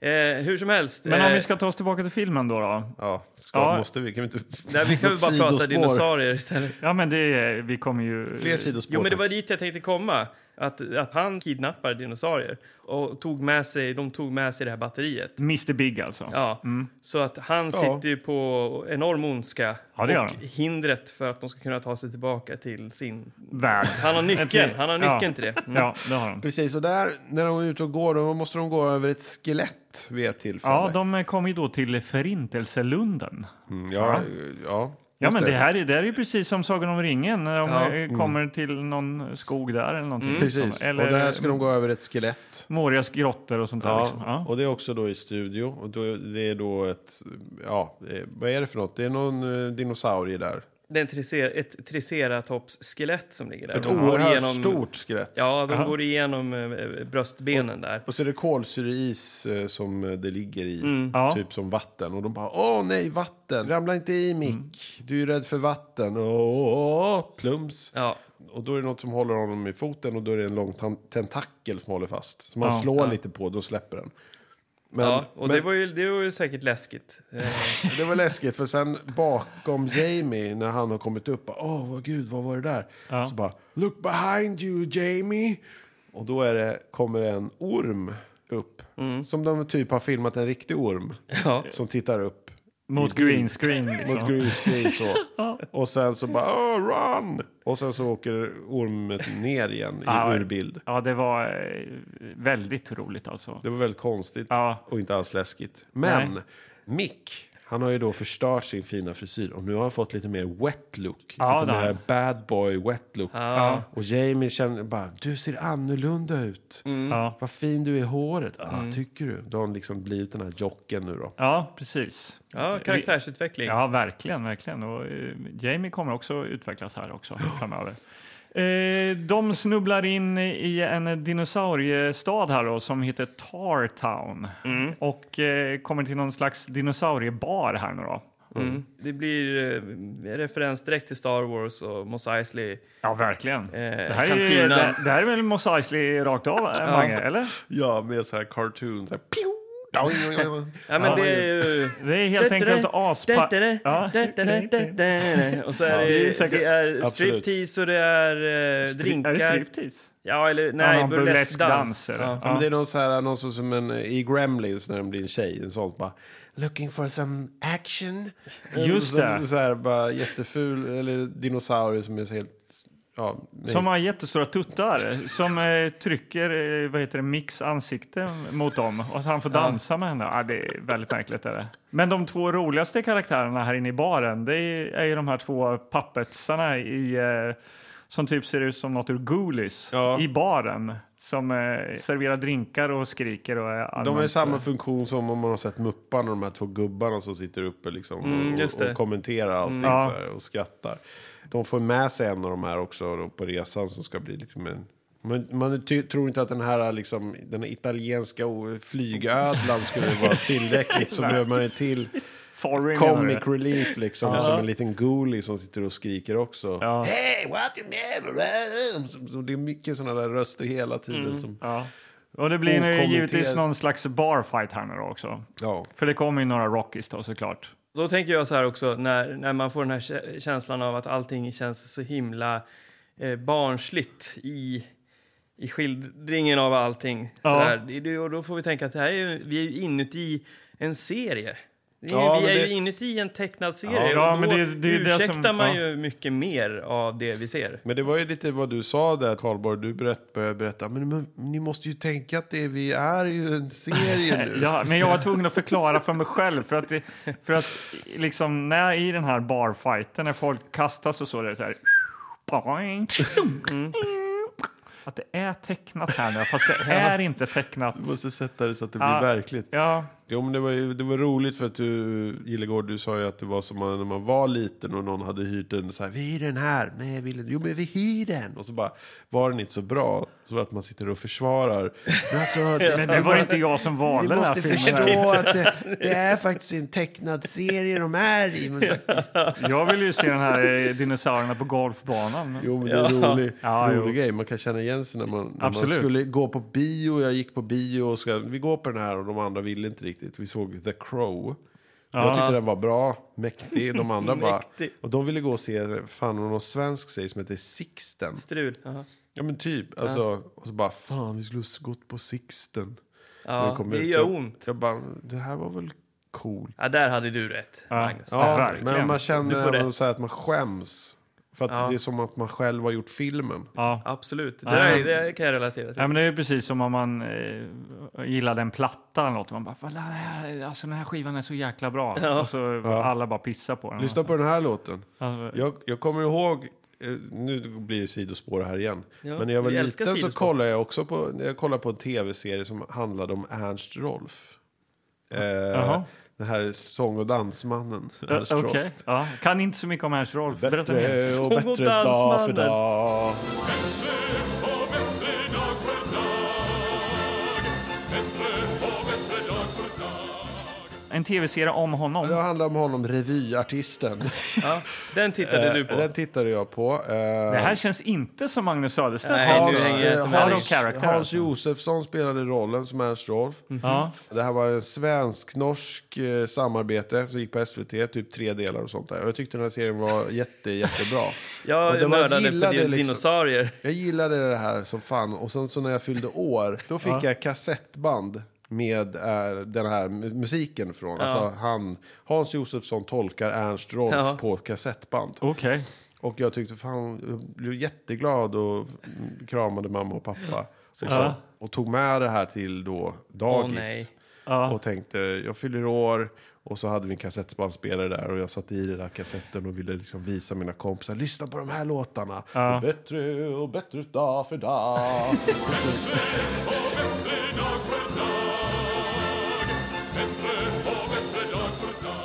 Speaker 1: Eh, ja. Eh, hur som helst.
Speaker 2: men om
Speaker 1: eh,
Speaker 2: vi ska ta oss tillbaka till filmen då. då.
Speaker 3: Ja, ska,
Speaker 2: Ja.
Speaker 3: måste vi? Kan vi inte...
Speaker 1: Nej, vi kan väl bara prata
Speaker 3: Sidospår.
Speaker 1: dinosaurier istället.
Speaker 2: Ja, men det, är- vi kommer ju...
Speaker 3: Fler sidospår.
Speaker 1: Jo, men det var
Speaker 3: tack.
Speaker 1: dit jag tänkte komma. Att, att han kidnappar dinosaurier. Och tog med sig, de tog med sig det här batteriet.
Speaker 2: Mr Big alltså.
Speaker 1: Ja, så att han sitter ju på enorm ondska
Speaker 2: Ja, det gör
Speaker 1: och
Speaker 2: han.
Speaker 1: hindret för att de ska kunna ta sig tillbaka till sin...
Speaker 2: Värld.
Speaker 1: Han har nyckeln,
Speaker 2: Ett-
Speaker 1: han har nyckeln
Speaker 2: ja.
Speaker 1: till det. Mm.
Speaker 2: Ja, det har de.
Speaker 3: Precis, och där, när de är ute och går, då måste de gå över ett skelett vid ett tillfälle.
Speaker 2: Ja, de kom ju då till Förintelselunden.
Speaker 3: Mm, ja, ja.
Speaker 2: Ja,
Speaker 3: just Mm.
Speaker 2: men det här är, det här är ju precis som Sagan om ringen. När de
Speaker 1: Ja.
Speaker 2: eh, kommer till någon skog där eller någonting.
Speaker 3: Precis,
Speaker 2: Eller
Speaker 3: och där ska de gå över ett skelett.
Speaker 2: Morias grottor och sånt där. Liksom. Ja.
Speaker 3: och det är också då i studio. Och då, det är då ett, ja, eh, vad är det för något? Det är någon eh, dinosaurie där.
Speaker 1: Det är en tricer, ett triceratops-skelett som ligger där.
Speaker 3: Ett
Speaker 1: De går
Speaker 3: oerhört
Speaker 1: igenom-
Speaker 3: stort skelett.
Speaker 1: Ja, de går igenom eh, bröstbenen där.
Speaker 3: Och så är det kolsyreis eh, som eh, det ligger i,
Speaker 1: Mm.
Speaker 2: Ja.
Speaker 3: typ som vatten. Och de bara, åh nej, vatten! Ramla inte i Mick! Du är rädd för vatten! Åh, åh, åh, plums!
Speaker 1: Ja,
Speaker 3: Och då är det något som håller honom i foten och då är det en lång tan- tentakel som håller fast. Som man slår lite på, då släpper den. Men,
Speaker 1: ja och
Speaker 3: men-
Speaker 1: Det, var ju, det var ju säkert läskigt. Eh,
Speaker 3: Det var läskigt för sen bakom Jamie när han har kommit upp. bara, Åh vad gud vad var det där? Så bara look behind you Jamie. Och då är det, kommer en orm upp. Som de typ har filmat en riktig orm.
Speaker 1: Ja.
Speaker 3: Som tittar upp.
Speaker 2: Mot green screen. Liksom.
Speaker 3: Mot green screen så. Och sen så bara oh, run. Och sen så åker ormen ner igen i
Speaker 2: Ja.
Speaker 3: ur bild.
Speaker 2: Ja, det var eh, väldigt roligt alltså.
Speaker 3: Det var väldigt konstigt
Speaker 2: Ja.
Speaker 3: och inte alls läskigt. Men
Speaker 2: Nej.
Speaker 3: Mick, han har ju då förstört sin fina frisyr och nu har han fått lite mer wet look.
Speaker 2: Ja, det
Speaker 3: lite
Speaker 2: har
Speaker 3: mer
Speaker 2: han.
Speaker 3: bad boy wet look.
Speaker 1: Ja.
Speaker 3: Och Jamie känner bara, du ser annorlunda ut.
Speaker 2: Ja.
Speaker 3: Vad fin du är i håret. Ah, Tycker du? Då har han liksom blivit den här jocken nu då.
Speaker 2: ja, precis.
Speaker 1: ja, karaktärsutveckling.
Speaker 2: Ja, verkligen, verkligen. Och eh, Jamie kommer också utvecklas här också framöver. Eh, de snubblar in i en dinosauriestad här då, som heter Tartown och eh, kommer till någon slags dinosauriebar här nu då.
Speaker 1: Mm. Det blir eh, referens direkt till Star Wars och Mos Eisley.
Speaker 2: Ja, verkligen. det, här är, ju-
Speaker 1: kantinan.
Speaker 2: det, det här är väl Mos Eisley rakt av, eh, Mange? Eller?
Speaker 3: Ja, med så här cartoon. Så här, pew, down, down, down.
Speaker 1: Ja, men det är ju...
Speaker 2: Det är helt enkelt aspa... Ja.
Speaker 1: Och så är
Speaker 2: Ja, det är
Speaker 1: det,
Speaker 2: säkert-
Speaker 1: det är
Speaker 3: Absolut.
Speaker 1: striptease och det är eh,
Speaker 2: Är det
Speaker 1: drinkar.
Speaker 2: striptease?
Speaker 1: Ja, eller
Speaker 2: Ja,
Speaker 1: nej,
Speaker 2: någon
Speaker 1: burleskdans.
Speaker 2: burleskdans,
Speaker 1: Ja.
Speaker 2: eller?
Speaker 3: Ja, men det är någon, så här, någon som, som en, i Gremlins när den blir en tjej. En sån bara, looking for some action.
Speaker 2: Just
Speaker 3: Som-
Speaker 2: det.
Speaker 3: Så här, bara jätteful, eller dinosaurie som är så helt... Ja, nej.
Speaker 2: Som har jättestora tuttar som eh, trycker eh, vad heter det, Micks ansikte mot dem och att han får dansa med henne. Ja, det är väldigt märkligt. Är det. Men de två roligaste karaktärerna här inne i baren det är, är ju de här två pappetsarna i, eh, som typ ser ut som något ur Ghoulies i baren som eh, serverar drinkar och skriker. Och är
Speaker 3: de har ju
Speaker 2: allmänt-
Speaker 3: samma funktion som om man har sett Mupparna, de här två gubbarna som sitter uppe liksom, och,
Speaker 1: Mm, just
Speaker 3: och,
Speaker 1: det.
Speaker 3: och kommenterar allting
Speaker 2: Mm, Ja.
Speaker 3: så här, och skrattar. De får med sig en av de här också då, på resan som ska bli liksom en... Men man ty- tror inte att den här, liksom, den här italienska o- flygödlan skulle vara tillräckligt, så behöver man en till
Speaker 2: Foreign menar du?
Speaker 3: Comic relief liksom, som en liten goolie som sitter och skriker också.
Speaker 2: Ja.
Speaker 3: Hey, what you never eh?" Som- som- Det är mycket sådana där röster hela tiden. Som,
Speaker 2: Mm, Ja. Och det blir nu
Speaker 3: Okommenterad.
Speaker 2: givetvis någon slags barfight här nu då också.
Speaker 3: ja.
Speaker 2: För det kommer ju några Rockies då såklart.
Speaker 1: Då tänker jag så här också, när, när man får den här kä- känslan av att allting känns så himla eh, barnsligt i, i skildringen av allting.
Speaker 2: Ja.
Speaker 1: Så där. Det- det- Och då får vi tänka att det här är, ju- vi är ju inuti en serie. Det är,
Speaker 3: Ja,
Speaker 1: vi
Speaker 3: men
Speaker 1: är
Speaker 3: det-
Speaker 1: ju inuti en tecknad serie.
Speaker 2: Ja,
Speaker 1: och då
Speaker 2: men det- det är ju det som-
Speaker 1: ursäktar man
Speaker 2: ja.
Speaker 1: ju mycket mer av det vi ser.
Speaker 3: Men det var ju lite vad du sa där, Karlborg. Du berätt, började berätta, men, men ni måste ju tänka att det, vi är ju en serie nu.
Speaker 2: Ja, men Eh, jag var tvungen att förklara för mig själv. För att, det, för att liksom, när i den här barfighten, när folk kastas och så, det är så här... Boing,
Speaker 3: Mm.
Speaker 2: dunk, Att det är tecknat här nu, fast det är inte tecknat.
Speaker 3: Du måste sätta det så att det
Speaker 2: Ja.
Speaker 3: blir verkligt.
Speaker 2: Ja,
Speaker 3: Jo, men det var, ju, det var roligt för att du, Gillegård, du sa ju att det var som när man var liten och någon hade hyrt en så här, vi hyr den här, nej jag vill inte, jo men vi hyr den. Och så bara, var den inte så bra? Så att man sitter och försvarar. Men alltså, det,
Speaker 2: men det var inte jag som valde
Speaker 3: ni
Speaker 2: den här
Speaker 3: måste
Speaker 2: filmen.
Speaker 3: förstå att det, det är faktiskt en tecknad serie de är i. Men faktiskt.
Speaker 2: Jag ville ju se den här eh, dinosaurierna på golfbanan.
Speaker 3: Jo, men det är en rolig,
Speaker 2: Ja,
Speaker 3: rolig
Speaker 2: jo.
Speaker 3: grej. Man kan känna igen sig när man, när man
Speaker 2: Absolut.
Speaker 3: skulle gå på bio. Jag gick på bio och ska, vi går på den här och de andra ville inte riktigt. Vi såg The Crow. Jag tyckte den var bra, mäktig. De andra bara...
Speaker 1: Mäktig.
Speaker 3: Och de ville gå och se, fan vad någon svensk säger som heter Sixten.
Speaker 1: Strul. jaha.
Speaker 3: Ja men typ. Alltså, Och så bara, fan vi skulle ha gått på Sixten. När de
Speaker 1: Ja,
Speaker 3: kom
Speaker 1: det
Speaker 3: ut,
Speaker 1: gör
Speaker 3: jag-
Speaker 1: ont.
Speaker 3: Jag bara, det här var väl coolt.
Speaker 1: Ja, där hade du rätt, Magnus.
Speaker 2: Ja,
Speaker 3: Ja,
Speaker 2: verkligen.
Speaker 3: men man
Speaker 1: Du får
Speaker 3: känner ändå
Speaker 1: rätt.
Speaker 3: så här att man skäms. För att det är som att man själv har gjort filmen.
Speaker 2: Ja.
Speaker 1: Absolut, det, där, det kan jag relatera till.
Speaker 2: Ja, men det är ju precis som om man eh, gillade en platta eller något. Man bara, "Fan, det här- alltså, den här skivan är så jäkla bra. Och så alla bara pissar på den.
Speaker 3: Lyssna på den här låten.
Speaker 2: Alltså,
Speaker 3: Jag, jag kommer ihåg, eh, nu blir det sidospår här igen.
Speaker 1: Ja,
Speaker 3: men när jag var
Speaker 1: vi älskar
Speaker 3: liten så
Speaker 1: sidospår.
Speaker 3: kollade jag också på, jag kollade på en tv-serie som handlade om Ernst Rolf. Eh,
Speaker 2: Jaha.
Speaker 3: Den här sång och dansmannen
Speaker 1: Eh,
Speaker 3: Ernst
Speaker 2: Okej,
Speaker 3: Rolf.
Speaker 2: ja. kan inte så mycket om Ernst Rolf. Berätta
Speaker 3: Bättre
Speaker 2: mer.
Speaker 3: och
Speaker 1: Sång och
Speaker 3: bättre dag för
Speaker 1: dansmannen.
Speaker 3: dag.
Speaker 2: En tv-serie om honom.
Speaker 3: Det handlar om honom, revyartisten.
Speaker 1: Ja, den tittade du på.
Speaker 3: Eh, Den tittade jag på. Eh,
Speaker 2: Det här känns inte som Magnus Söderstedt.
Speaker 1: Nej,
Speaker 2: Hans-
Speaker 1: nu hänger jag
Speaker 3: eh,
Speaker 1: inte med dig.
Speaker 3: Hans,
Speaker 2: Out of character,
Speaker 3: Hans
Speaker 2: alltså.
Speaker 3: Josefsson spelade rollen som Ernst Rolf.
Speaker 1: Mm.
Speaker 2: ja.
Speaker 3: Det här var en svensk-norsk eh, samarbete som gick på SVT, typ tre delar och sånt där. Och jag tyckte den här serien var jätte, jättebra. Och det
Speaker 1: Jag
Speaker 3: var-
Speaker 1: nördade på
Speaker 3: gillade
Speaker 1: din-
Speaker 3: liksom-
Speaker 1: dinosaurier.
Speaker 3: Jag gillade det här som fan. Och sen så när jag fyllde år, då fick jag kassettband med eh, den här mu- musiken från. Alltså han, Hans Josefsson tolkar Ernst Rolf
Speaker 1: Ja.
Speaker 3: på kassettband.
Speaker 2: Okej.
Speaker 3: Och jag tyckte fan, jag blev jätteglad och mm, kramade mamma och pappa. Och, så,
Speaker 2: Ja.
Speaker 3: och tog med det här till då dagis.
Speaker 1: nej.
Speaker 2: Ja.
Speaker 3: Och tänkte, jag fyller år. Och så hade vi en kassettbandspelare där och jag satte i den där kassetten och ville liksom visa mina kompisar, lyssna på de här låtarna. Och bättre och bättre dag för dag.
Speaker 1: Och
Speaker 3: de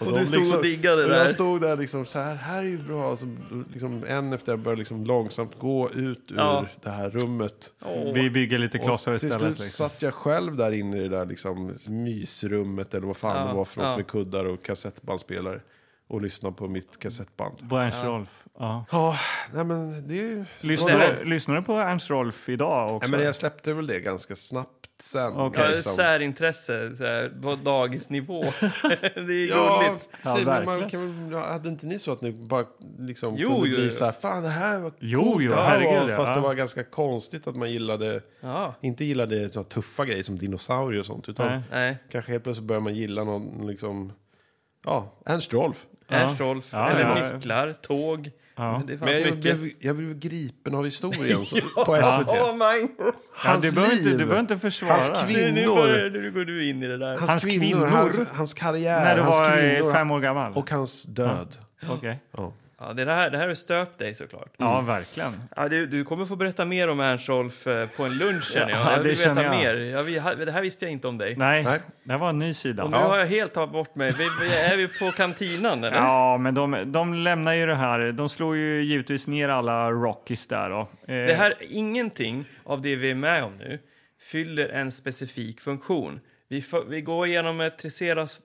Speaker 1: du stod
Speaker 3: liksom-
Speaker 1: och diggade
Speaker 3: Och jag
Speaker 1: där.
Speaker 3: stod där liksom så här, här är ju bra. Så, liksom, en efter en började liksom långsamt gå ut ur
Speaker 1: Ja.
Speaker 3: det här rummet.
Speaker 2: Vi bygger lite
Speaker 3: Och
Speaker 2: klossar
Speaker 3: till
Speaker 2: istället.
Speaker 3: slut
Speaker 2: Liksom.
Speaker 3: satt jag själv där inne i det där liksom, mysrummet eller vad fan
Speaker 1: Ja,
Speaker 3: det var för något
Speaker 1: ja.
Speaker 3: med kuddar och kassettbandspelare. Och lyssnade på mitt kassettband.
Speaker 2: På Ernst Rolf. Ja.
Speaker 3: Ja, nej men det är ju...
Speaker 2: Lyssnar, du, lyssnar du på Ernst Rolf idag också?
Speaker 3: Nej, men jag släppte väl det ganska snabbt sen.
Speaker 2: Okej.
Speaker 1: Ja, det är
Speaker 3: liksom.
Speaker 1: särintresse så här, på dagisnivå. det är
Speaker 3: Ja,
Speaker 1: gulligt.
Speaker 2: Ja,
Speaker 3: säg, men man
Speaker 2: verkligen.
Speaker 3: kan, väl- hade inte ni så att ni bara liksom
Speaker 1: Jo,
Speaker 3: kunde
Speaker 1: jo,
Speaker 3: bli
Speaker 1: jo.
Speaker 3: så här, fan det här var
Speaker 2: Jo,
Speaker 3: coolt,
Speaker 2: jo,
Speaker 3: det här var,
Speaker 2: herregud, ja.
Speaker 3: fast det
Speaker 2: Ja.
Speaker 3: var ganska konstigt att man gillade,
Speaker 1: Ja.
Speaker 3: inte gillade så här tuffa grejer som dinosaurier och sånt, utan
Speaker 2: Nej.
Speaker 1: Nej,
Speaker 3: kanske helt plötsligt börjar man gilla någon, liksom, ja, Ernst Rolf.
Speaker 1: Ernst Rolf,
Speaker 2: Ja,
Speaker 1: eller
Speaker 2: ja.
Speaker 1: nycklar, tåg. Det fanns
Speaker 3: Men jag,
Speaker 1: mycket.
Speaker 3: blev, jag blev gripen av historien så, på SVT.
Speaker 1: Åh, Magnus!
Speaker 3: Hans
Speaker 2: du behöver inte-
Speaker 3: liv,
Speaker 2: du behöver inte försvara.
Speaker 3: hans
Speaker 1: Nu,
Speaker 3: kvinnor,
Speaker 1: nu, börjar, nu går du in i det där.
Speaker 3: hans,
Speaker 2: Hans
Speaker 3: kvinnor,
Speaker 2: kvinnor.
Speaker 3: Hans, hans karriär,
Speaker 2: När du
Speaker 3: hans
Speaker 2: var eh,
Speaker 3: kvinnor
Speaker 2: fem år gammal?
Speaker 3: och hans död.
Speaker 2: Okej.
Speaker 1: Ja, det, här, det här har stöpt dig såklart.
Speaker 2: Ja, verkligen.
Speaker 1: Ja, du, du kommer få berätta mer om Ernst Rolf eh, på en lunch känner jag.
Speaker 2: Ja,
Speaker 1: Jag vill
Speaker 2: det
Speaker 1: veta
Speaker 2: känner jag.
Speaker 1: mer. Jag vill, ha- det här visste jag inte om dig.
Speaker 2: Nej,
Speaker 3: Nej.
Speaker 2: det var en ny sida.
Speaker 1: Och nu har jag helt tagit bort mig. Vi, vi, är vi på kantinan eller?
Speaker 2: Ja, men de, de lämnar ju det här. De slår ju givetvis ner alla Rockies där då. Eh,
Speaker 1: Det här, ingenting av det vi är med om nu fyller en specifik funktion. Vi, för, vi går igenom ett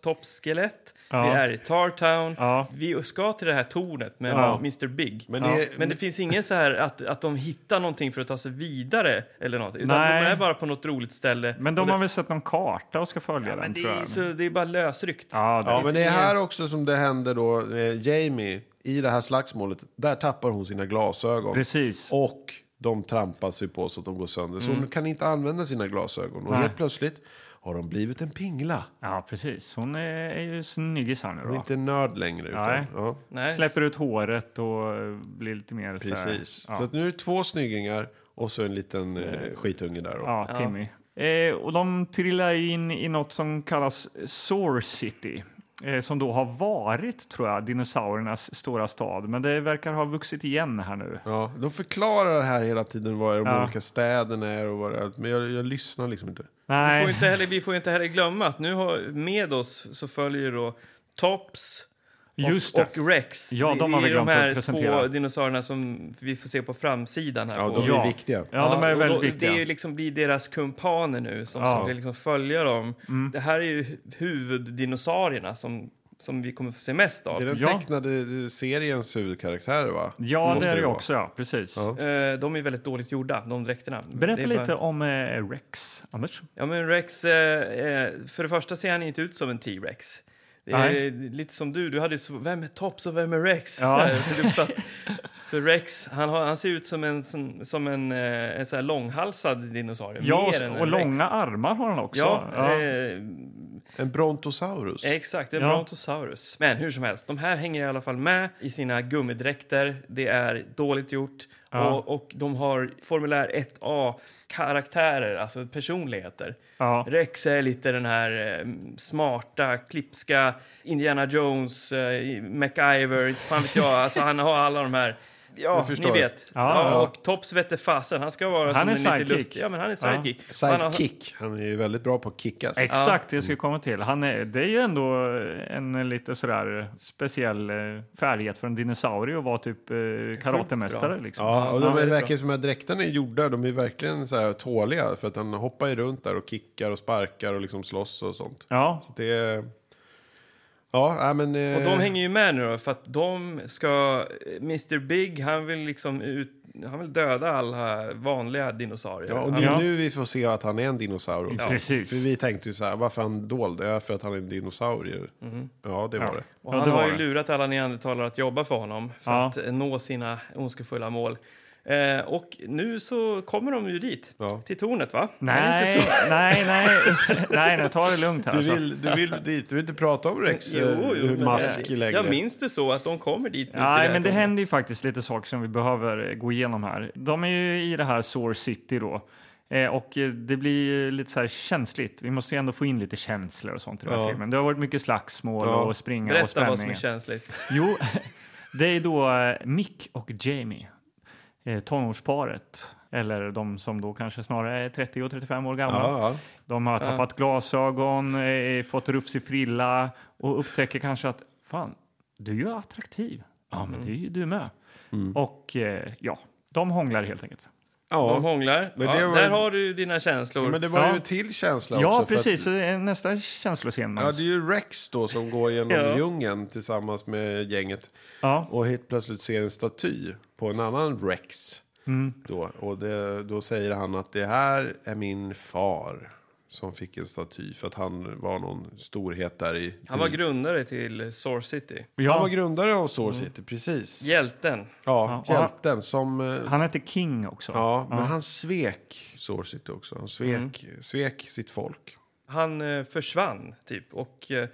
Speaker 1: triceratops-skelett.
Speaker 2: Ja.
Speaker 1: Vi är i Tartown.
Speaker 2: Ja.
Speaker 1: Vi ska till det här tornet med
Speaker 2: Ja.
Speaker 1: Mr Big.
Speaker 3: Men det, är-
Speaker 1: Men det finns ingen så här att, att de hittar någonting för att ta sig vidare eller något. Utan
Speaker 2: Nej.
Speaker 1: de är bara på något roligt ställe.
Speaker 2: Men
Speaker 1: Och
Speaker 2: de
Speaker 1: det,
Speaker 2: har väl sett någon karta och ska följa
Speaker 1: men
Speaker 2: den,
Speaker 1: det,
Speaker 2: tror
Speaker 1: är
Speaker 2: jag.
Speaker 1: så, det är bara lösryckt.
Speaker 2: Ja, det
Speaker 3: ja, men det är
Speaker 1: ingen-
Speaker 3: här också som det händer då. eh, Jamie, i det här slagsmålet, där tappar hon sina glasögon.
Speaker 2: Precis.
Speaker 3: Och de trampas ju på så att de går sönder. Så hon kan inte använda sina glasögon. Och
Speaker 2: Mm. Nej.
Speaker 3: helt plötsligt har de blivit en pingla.
Speaker 2: ja, precis. Hon är, är ju snyggis här nu
Speaker 3: Hon är
Speaker 2: då.
Speaker 3: inte en nörd längre. Utan,
Speaker 2: Nej.
Speaker 3: Ja,
Speaker 1: Nej.
Speaker 2: Släpper ut håret och eh, blir lite mer så här-
Speaker 3: precis. Så
Speaker 2: Ja,
Speaker 3: att nu är det två snyggingar och så en liten eh, skitunge där. Då.
Speaker 2: ja Timmy. Eh, och de trillar in i något som kallas Sore City. Eh, som då har varit, tror jag, dinosauriernas stora stad. Men det verkar ha vuxit igen här nu.
Speaker 3: Ja, de förklarar här hela tiden vad de
Speaker 2: Ja.
Speaker 3: olika städerna är och vad det är. Men jag, jag lyssnar liksom inte.
Speaker 1: Vi
Speaker 2: Nej.
Speaker 1: får, ju inte heller, vi får ju inte heller glömma att nu har med oss så följer ju då Tops och,
Speaker 2: Just det.
Speaker 1: och Rex.
Speaker 2: Ja,
Speaker 1: Det
Speaker 2: de har
Speaker 1: är
Speaker 2: vi glömt
Speaker 1: de här
Speaker 2: att presentera.
Speaker 1: två dinosaurierna som vi får se på framsidan här.
Speaker 3: Ja,
Speaker 1: på.
Speaker 3: de
Speaker 2: Ja.
Speaker 3: är viktiga.
Speaker 2: Ja, de är
Speaker 1: och
Speaker 2: väldigt
Speaker 1: då,
Speaker 2: viktiga.
Speaker 1: Det är ju liksom blir deras kumpaner nu som
Speaker 2: Ja. Mm.
Speaker 1: ska liksom följa dem. Det här är ju huvuddinosaurierna som, som vi kommer få se mest av.
Speaker 3: Det är den
Speaker 2: Ja.
Speaker 3: tecknade eh, seriens huvudkaraktärer va?
Speaker 2: Ja,
Speaker 3: Måste
Speaker 2: det är det
Speaker 3: vara.
Speaker 2: också. Ja, precis.
Speaker 1: Eh, de är väldigt dåligt gjorda, de dräkterna. Det
Speaker 2: Berätta
Speaker 1: är
Speaker 2: lite
Speaker 1: bara-
Speaker 2: om eh, Rex, Anders.
Speaker 1: Ja, men Rex... Eh, eh, för det första ser han inte ut som en T-Rex. Det är
Speaker 2: Nej.
Speaker 1: lite som du, du hade ju så, vem är Tops och vem är Rex?
Speaker 2: Ja.
Speaker 1: Så här, du fatt- för Rex, han, har, han ser ut som en, som, som en, eh, en så här långhalsad dinosaurie.
Speaker 2: Ja,
Speaker 1: mer än
Speaker 2: och,
Speaker 1: en
Speaker 2: och
Speaker 1: Rex.
Speaker 2: långa armar har han också.
Speaker 1: Ja,
Speaker 2: Ja.
Speaker 1: Eh,
Speaker 3: En brontosaurus.
Speaker 1: exakt. En
Speaker 2: Ja.
Speaker 1: brontosaurus. Men hur som helst, de här hänger i alla fall med i sina gummidräkter. Det är dåligt gjort.
Speaker 2: Ja.
Speaker 1: Och, och de har formulär 1A-karaktärer, alltså personligheter.
Speaker 2: Ja.
Speaker 1: Rex är lite den här eh, smarta, klipska, Indiana Jones, eh, MacGyver, inte fan vet jag. Alltså han har alla de här... Ja,
Speaker 3: Jag
Speaker 1: ni
Speaker 3: förstår.
Speaker 1: vet.
Speaker 2: Ja.
Speaker 1: Ja, och Tops vette fasen, han ska vara
Speaker 2: Han
Speaker 1: som
Speaker 2: är
Speaker 1: en lite
Speaker 2: sidekick.
Speaker 1: lustig... Ja, men han är
Speaker 2: Ja.
Speaker 1: sidekick. Han har-
Speaker 3: Sidekick. Han är ju väldigt bra på att kickas.
Speaker 2: Exakt, det ska jag komma till. Han är, det är ju ändå en lite sådär speciell eh, färdighet för en dinosaurie att vara typ eh, karatemästare. Liksom.
Speaker 3: Ja, och
Speaker 1: Ja,
Speaker 3: de
Speaker 1: det
Speaker 3: är
Speaker 1: är
Speaker 3: verkar som att dräkterna är gjorda. De är verkligen så här tåliga. För att han hoppar ju runt där och kickar och sparkar och liksom slåss och sånt.
Speaker 2: Ja,
Speaker 3: Så det är... Ja, nej, men... eh,
Speaker 1: Och de hänger ju med nu då, för att de ska... Mr Big, han vill liksom ut... Han vill döda alla vanliga dinosaurier.
Speaker 3: Ja, och det är
Speaker 2: Ja.
Speaker 3: nu vi får se att han är en dinosaurie. också. För
Speaker 2: precis.
Speaker 3: vi tänkte ju så här, varför är han dold? Ja, för att han är en dinosaurie.
Speaker 1: Mhm.
Speaker 3: Ja, det var det.
Speaker 1: Och
Speaker 2: Ja,
Speaker 1: han
Speaker 2: det var
Speaker 1: har ju
Speaker 2: det.
Speaker 1: lurat alla neandertalare att jobba för honom för
Speaker 2: Ja.
Speaker 1: att eh, nå sina ondskefulla mål. Eh, och nu så kommer de ju dit,
Speaker 3: Ja.
Speaker 1: till tornet va? Är det
Speaker 2: Nej,
Speaker 1: inte så?
Speaker 2: nej, nej, nej, nej, ta det lugnt här.
Speaker 3: Du
Speaker 2: alltså.
Speaker 3: vill, du vill dit, du vill inte prata om Rex eh,
Speaker 1: Jo, jo, men
Speaker 3: mask
Speaker 1: jag,
Speaker 3: längre.
Speaker 1: jag minns det så att de kommer dit nu till
Speaker 2: Nej,
Speaker 1: här
Speaker 2: men det
Speaker 1: tornet.
Speaker 2: händer ju faktiskt lite saker som vi behöver eh, gå igenom här. De är ju i det här Sore City då. Eh, Och eh, det blir ju lite så här känsligt. Vi måste ju ändå få in lite känslor och sånt i den här
Speaker 3: Ja.
Speaker 2: filmen. Det har varit mycket slagsmål
Speaker 3: Ja.
Speaker 2: och springa och
Speaker 1: Berätta
Speaker 2: spänning.
Speaker 1: vad som är känsligt.
Speaker 2: Jo, det är då eh, Mick och Jamie, eh, tonårsparet. Eller de som då kanske snarare är 30 och 35 år gamla.
Speaker 3: Ja, ja.
Speaker 2: De har tappat glasögon, eh, fått rufsig frilla och upptäcker kanske att fan, du är ju attraktiv. Ja, men
Speaker 3: Mm.
Speaker 2: det är ju du med. Och eh, ja, de hånglar helt enkelt.
Speaker 1: De
Speaker 3: Ja,
Speaker 1: hånglar.
Speaker 3: Men
Speaker 1: Ja,
Speaker 3: det var-
Speaker 1: Där har du dina känslor.
Speaker 3: men det var ju
Speaker 2: Ja.
Speaker 3: en till känsla också.
Speaker 2: Ja,
Speaker 3: för
Speaker 2: precis.
Speaker 3: Att,
Speaker 2: Så det är Nästa känsloscen.
Speaker 3: ja,
Speaker 2: Måns.
Speaker 3: det är ju Rex då som går genom
Speaker 1: Ja.
Speaker 3: djungeln tillsammans med gänget.
Speaker 2: Ja.
Speaker 3: Och helt plötsligt ser en staty på en annan Rex.
Speaker 2: Mm.
Speaker 3: Då, och det, då säger han att det här är min far. Som fick en staty för att han var någon storhet där i...
Speaker 1: Han var grundare till Source City.
Speaker 3: Han var
Speaker 2: Ja, Mm.
Speaker 3: grundare av Source City, precis.
Speaker 1: Hjälten.
Speaker 3: Ja,
Speaker 2: Ja, och han-
Speaker 3: hjälten som... eh,
Speaker 2: han heter King också.
Speaker 3: Ja, men han svek Source City också. Han svek,
Speaker 2: Mm.
Speaker 3: svek sitt folk.
Speaker 1: Han eh, försvann, typ. Och eh,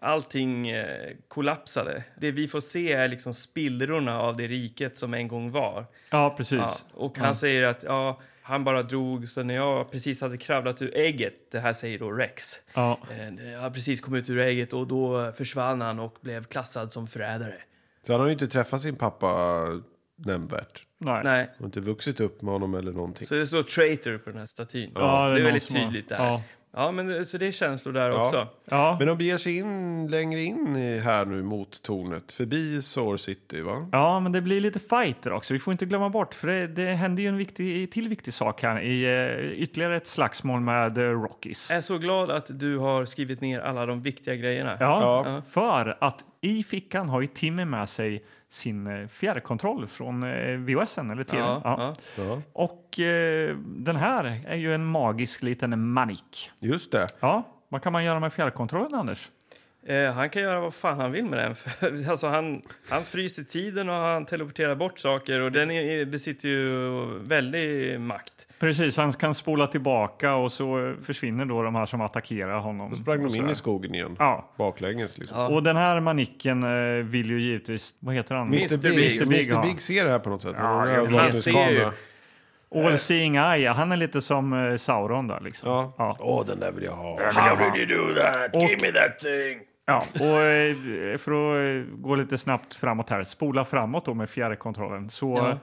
Speaker 1: allting eh, kollapsade. Det vi får se är liksom spillrorna av det riket som en gång var.
Speaker 2: Ja, precis.
Speaker 1: Ja, och han säger att ja, han bara drog, så när jag precis hade kravlat ur ägget, det här säger då Rex,
Speaker 2: Ja.
Speaker 1: eh, jag hade precis kommit ut ur ägget och då försvann han och blev klassad som förrädare.
Speaker 3: Så han har ju inte träffat sin pappa nämnvärt.
Speaker 2: Nej.
Speaker 1: Nej,
Speaker 3: Och inte vuxit upp med honom eller någonting.
Speaker 1: så det står traitor på den här statyn.
Speaker 2: Ja,
Speaker 1: det är
Speaker 2: någon
Speaker 1: väldigt
Speaker 2: som har-
Speaker 1: tydligt där.
Speaker 2: Ja.
Speaker 1: Ja, men det- så det är känslor där
Speaker 3: Ja.
Speaker 1: också.
Speaker 2: Ja,
Speaker 3: Men de beger sig in längre in i- här nu mot tornet, förbi Sore City va?
Speaker 2: ja, men det blir lite fighter också. Vi får inte glömma bort, för det, det händer ju en viktig, till viktig sak här i eh, ytterligare ett slagsmål med eh, Rockies.
Speaker 1: Jag är så glad att du har skrivit ner alla de viktiga grejerna.
Speaker 2: Ja,
Speaker 3: Ja.
Speaker 2: för att i fickan har ju Timmy med sig sin eh, fjärrkontroll från eh, VHSen eller TVn.
Speaker 1: Ja,
Speaker 2: Ja,
Speaker 1: ja.
Speaker 2: Och eh, den här är ju en magisk liten manik.
Speaker 3: Just det.
Speaker 2: Ja, vad kan man göra med fjärrkontrollen, Anders?
Speaker 1: Eh, han kan göra vad fan han vill med den. För, alltså, han, han fryser tiden och han teleporterar bort saker och den är, besitter ju väldig makt.
Speaker 2: Precis, han kan spola tillbaka och så eh, försvinner då de här som attackerar honom. Då
Speaker 3: Sprang de in i skogen igen?
Speaker 2: Ja.
Speaker 3: Baklänges liksom.
Speaker 1: Ja.
Speaker 2: Och den här manicken eh, vill ju givetvis, vad heter han?
Speaker 3: Mr. Big,
Speaker 1: Big,
Speaker 3: Mr. Big,
Speaker 2: ja.
Speaker 3: ser det här på något sätt.
Speaker 2: Ja,
Speaker 3: Med den här
Speaker 2: jag vet.
Speaker 1: Han ser ju.
Speaker 3: övervakningskameran.
Speaker 2: All seeing eye, han är lite som eh, Sauron där liksom.
Speaker 3: Ja.
Speaker 2: Ja.
Speaker 3: Åh, den där vill jag ha.
Speaker 2: How did you do that? Give me that thing! Ja, och eh, för att eh, gå lite snabbt framåt här, spola framåt då med fjärrkontrollen så
Speaker 1: Ja.
Speaker 2: eh,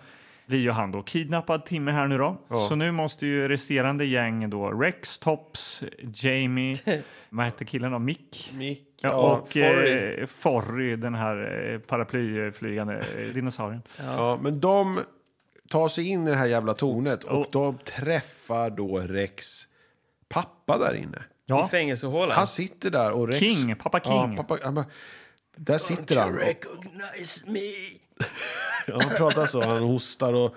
Speaker 2: blir ju han då kidnappad timme här nu då. Så nu måste ju resterande gäng då, Rex, Tops, Jamie, vad hette killen då, Mick?
Speaker 3: Mick.
Speaker 2: Ja,
Speaker 3: Ja,
Speaker 2: och Forry. Eh, Forry, den här eh, paraplyflygande eh, dinosaurien.
Speaker 3: Ja, men de tar sig in i det här jävla tornet och
Speaker 2: Och-
Speaker 3: de träffar då Rex pappa där inne.
Speaker 1: I fängelsehålan.
Speaker 3: Han sitter där och Rex...
Speaker 2: King, pappa
Speaker 3: Ja,
Speaker 2: King.
Speaker 3: pappa, han bara, där sitter han.
Speaker 1: You recognize me.
Speaker 3: Ja, Han pratar så, han hostar och...